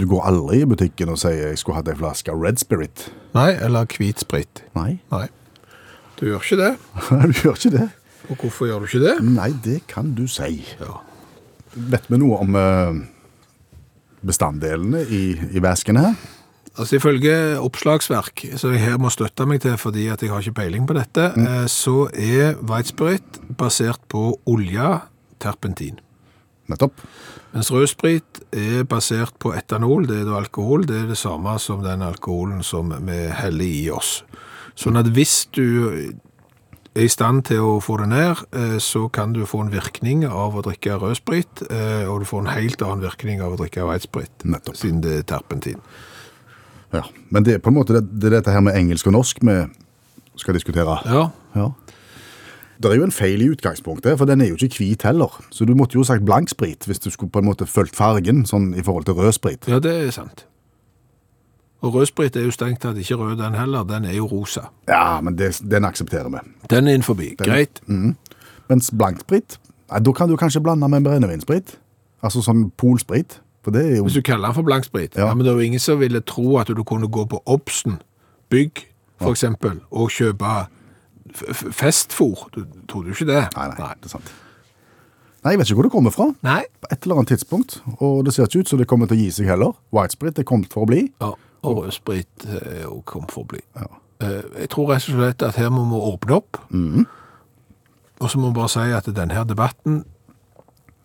[SPEAKER 3] Du går aldri i butikken og sier 'jeg skulle hatt ei flaske Red Spirit'.
[SPEAKER 2] Nei, eller hvit sprit.
[SPEAKER 3] Nei,
[SPEAKER 2] Nei. Du gjør ikke det.
[SPEAKER 3] du gjør ikke det.
[SPEAKER 2] Og hvorfor gjør du ikke det?
[SPEAKER 3] Nei, det kan du si. Vet vi noe om eh, bestanddelene i, i væsken her?
[SPEAKER 2] Altså Ifølge oppslagsverk, som jeg her må støtte meg til fordi at jeg har ikke peiling på dette, eh, så er whitesprit basert på olje, terpentin.
[SPEAKER 3] Nettopp.
[SPEAKER 2] Mens rødsprit er basert på etanol, det er da alkohol. Det er det samme som den alkoholen som vi heller i oss. Sånn at hvis du er i stand til å få det ned, eh, så kan du få en virkning av å drikke rødsprit, eh, og du får en helt annen virkning av å drikke hvitsprit,
[SPEAKER 3] Nettopp.
[SPEAKER 2] siden det er terpentin.
[SPEAKER 3] Ja. Men det er på en måte det, det er dette her med engelsk og norsk vi skal diskutere.
[SPEAKER 2] Ja,
[SPEAKER 3] Ja. Det er jo en feil i utgangspunktet, for den er jo ikke hvit heller. Så du måtte jo sagt blanksprit hvis du skulle på en måte fulgt fargen sånn i forhold til rødsprit.
[SPEAKER 2] ja det er sant. Og rødsprit er jo strengt tatt ikke rød den heller, den er jo rosa.
[SPEAKER 3] Ja, men det, den aksepterer vi.
[SPEAKER 2] Den er innenfor. Greit.
[SPEAKER 3] Mens blanksprit, nei, da kan du kanskje blande med brennevinsprit. Altså sånn polsprit. For det er jo
[SPEAKER 2] Hvis du kaller den for blanksprit, ja. men det er jo ingen som ville tro at du kunne gå på Obsen, bygg for eksempel, og kjøpe f- f- festfôr. Du trodde jo ikke det.
[SPEAKER 3] Nei, nei, det er sant. Nei, jeg vet ikke hvor det kommer fra.
[SPEAKER 2] Nei.
[SPEAKER 3] På et eller annet tidspunkt. Og det ser ikke ut som det kommer til å gi seg heller. Whitesprit er kommet for å bli.
[SPEAKER 2] Ja, og rødsprit er jo kom for å bli. Eh, Jeg tror rett og slett at her må vi åpne opp, og så må vi bare si at denne her debatten,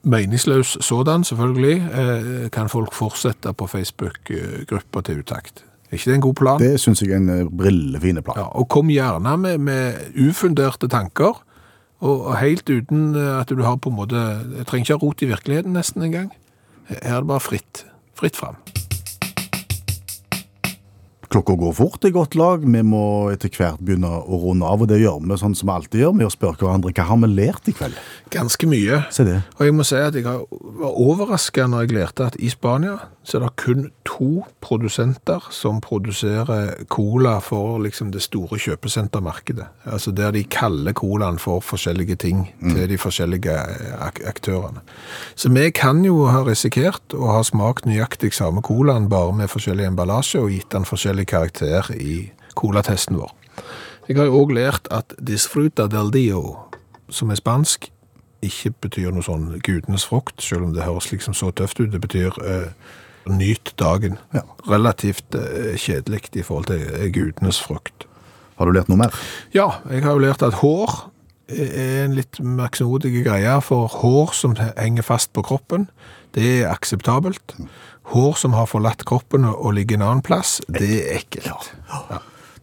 [SPEAKER 2] meningsløs sådan selvfølgelig, eh, kan folk fortsette på Facebook-grupper til utakt. Er ikke det en god plan?
[SPEAKER 3] Det syns jeg er en eh, brillefine plan.
[SPEAKER 2] Ja, og kom gjerne med, med ufunderte tanker, og, og helt uten eh, at du har på en måte Jeg trenger ikke ha rot i virkeligheten nesten engang. Her er det bare fritt. Fritt fram.
[SPEAKER 3] Klokka går fort i godt lag. Vi må etter hvert begynne å runde av, og det gjør vi sånn som vi alltid gjør, med å spørre hverandre hva har vi lært i kveld.
[SPEAKER 2] Ganske mye.
[SPEAKER 3] Se det.
[SPEAKER 2] Og jeg må si at jeg har- var overraska når jeg lærte at i Spania så er det kun to produsenter som produserer cola for liksom det store kjøpesentermarkedet. Altså der de kaller colaen for forskjellige ting til de forskjellige eh, ak aktørene. Så vi kan jo ha risikert å ha smakt nøyaktig samme colaen bare med forskjellig emballasje og gitt den forskjellig karakter i colatesten vår. Jeg har jo òg lært at disfruta del dio, som er spansk, ikke betyr noe sånn gudenes frukt, selv om det høres liksom så tøft ut. Det betyr eh, nyt dagen.
[SPEAKER 3] Ja.
[SPEAKER 2] Relativt eh, kjedelig i forhold til eh, gudenes frukt.
[SPEAKER 3] Har du lært noe mer?
[SPEAKER 2] Ja, jeg har jo lært at hår eh, er en litt merksnodig greie, for hår som henger fast på kroppen, det er akseptabelt. Hår som har forlatt kroppen og ligger en annen plass, det er ekkelt.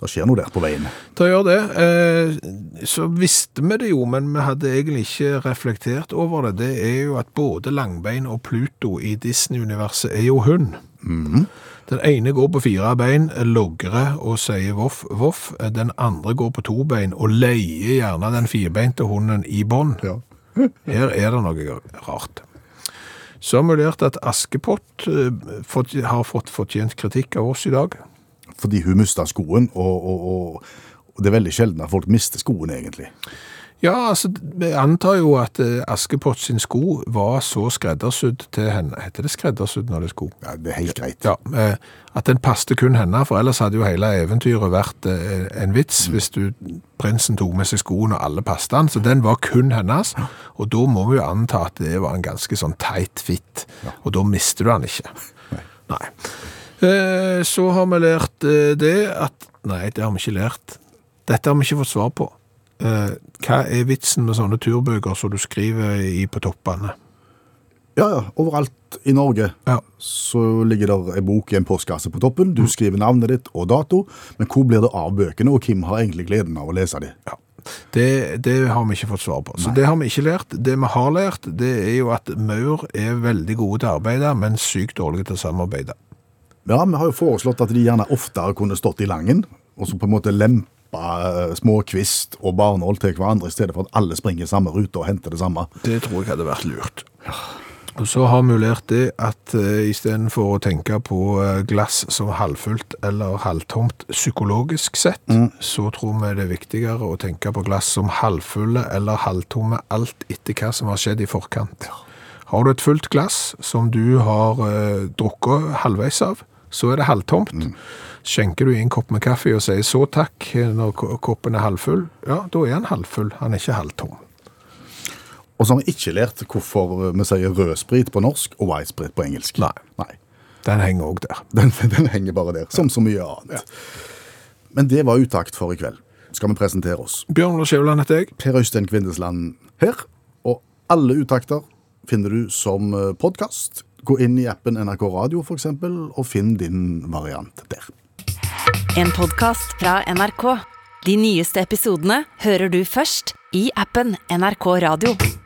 [SPEAKER 3] Det skjer noe der på veien.
[SPEAKER 2] Da gjør det. Eh, Så visste vi det jo, men vi hadde egentlig ikke reflektert over det. Det er jo at både Langbein og Pluto i Disney-universet er jo hund. Den ene går på fire bein, logrer og sier voff, voff. Den andre går på to bein og leier gjerne den firbeinte hunden i bånd. Her er det noe rart. Så har vi lært at Askepott eh, fått- har fått fortjent kritikk av oss i dag.
[SPEAKER 3] Fordi hun mista skoen, og, og, og, og det er veldig sjelden at folk mister skoen, egentlig.
[SPEAKER 2] Ja, altså, vi antar jo at eh, Askepott sin sko var så skreddersydd til henne. Heter det skreddersydd når det er sko?
[SPEAKER 3] Ja, det er helt greit.
[SPEAKER 2] Ja, eh, at den passte kun henne, for ellers hadde jo hele eventyret vært eh, en vits hvis du, prinsen tok med seg skoen og alle passte han, så den var kun hennes, og da må vi jo anta at det var en ganske sånn teit fitt, og da mister du han ikke. Nei. Eh, Så har vi lært eh, det at, nei, det har vi ikke lært. Dette har vi ikke fått svar på. Eh, Hva er vitsen med sånne turbøker som du skriver i på toppene?
[SPEAKER 3] Ja, ja. Overalt i Norge
[SPEAKER 2] Ja.
[SPEAKER 3] så ligger der en bok i en postkasse på toppen. Du skriver navnet ditt og dato, men hvor blir det av bøkene, og hvem har egentlig gleden av å lese dem?
[SPEAKER 2] Det, det har vi ikke fått svar på. Så det har vi ikke lært. Det vi har lært, det er jo at maur er veldig gode til å arbeide, men sykt dårlige til å samarbeide.
[SPEAKER 3] Ja, vi har jo foreslått at de gjerne oftere kunne stått i langen, og så på en måte lempa eh, små kvist og barnål til hverandre, i stedet for at alle springer i samme rute og henter det samme.
[SPEAKER 2] Det tror jeg hadde vært lurt. Og så har vi lært det at eh, istedenfor å tenke på eh, glass som halvfullt eller halvtomt psykologisk sett, så tror vi det er viktigere å tenke på glass som halvfulle eller halvtomme alt etter hva som har skjedd i forkant. Har du et fullt glass som du har eh, drukket halvveis av, så er det halvtomt. Skjenker du i en kopp med kaffe og sier så takk når ko- koppen er halvfull, ja, da er han halvfull, han er ikke halvtom.
[SPEAKER 3] Og så har vi ikke lært hvorfor vi sier rød sprit på norsk og white sprit på engelsk. Nei.
[SPEAKER 2] Den henger òg der.
[SPEAKER 3] Den, den henger bare der, som så mye annet. Men det var utakt for i kveld. Skal vi presentere oss.
[SPEAKER 2] Bjørn Lars Skjæveland heter jeg.
[SPEAKER 3] Per Øystein Kvindesland her. Og alle uttakter finner du som podkast. Gå inn i appen NRK Radio for eksempel, og finn din variant der.
[SPEAKER 1] En podkast fra NRK. De nyeste episodene hører du først i appen NRK Radio.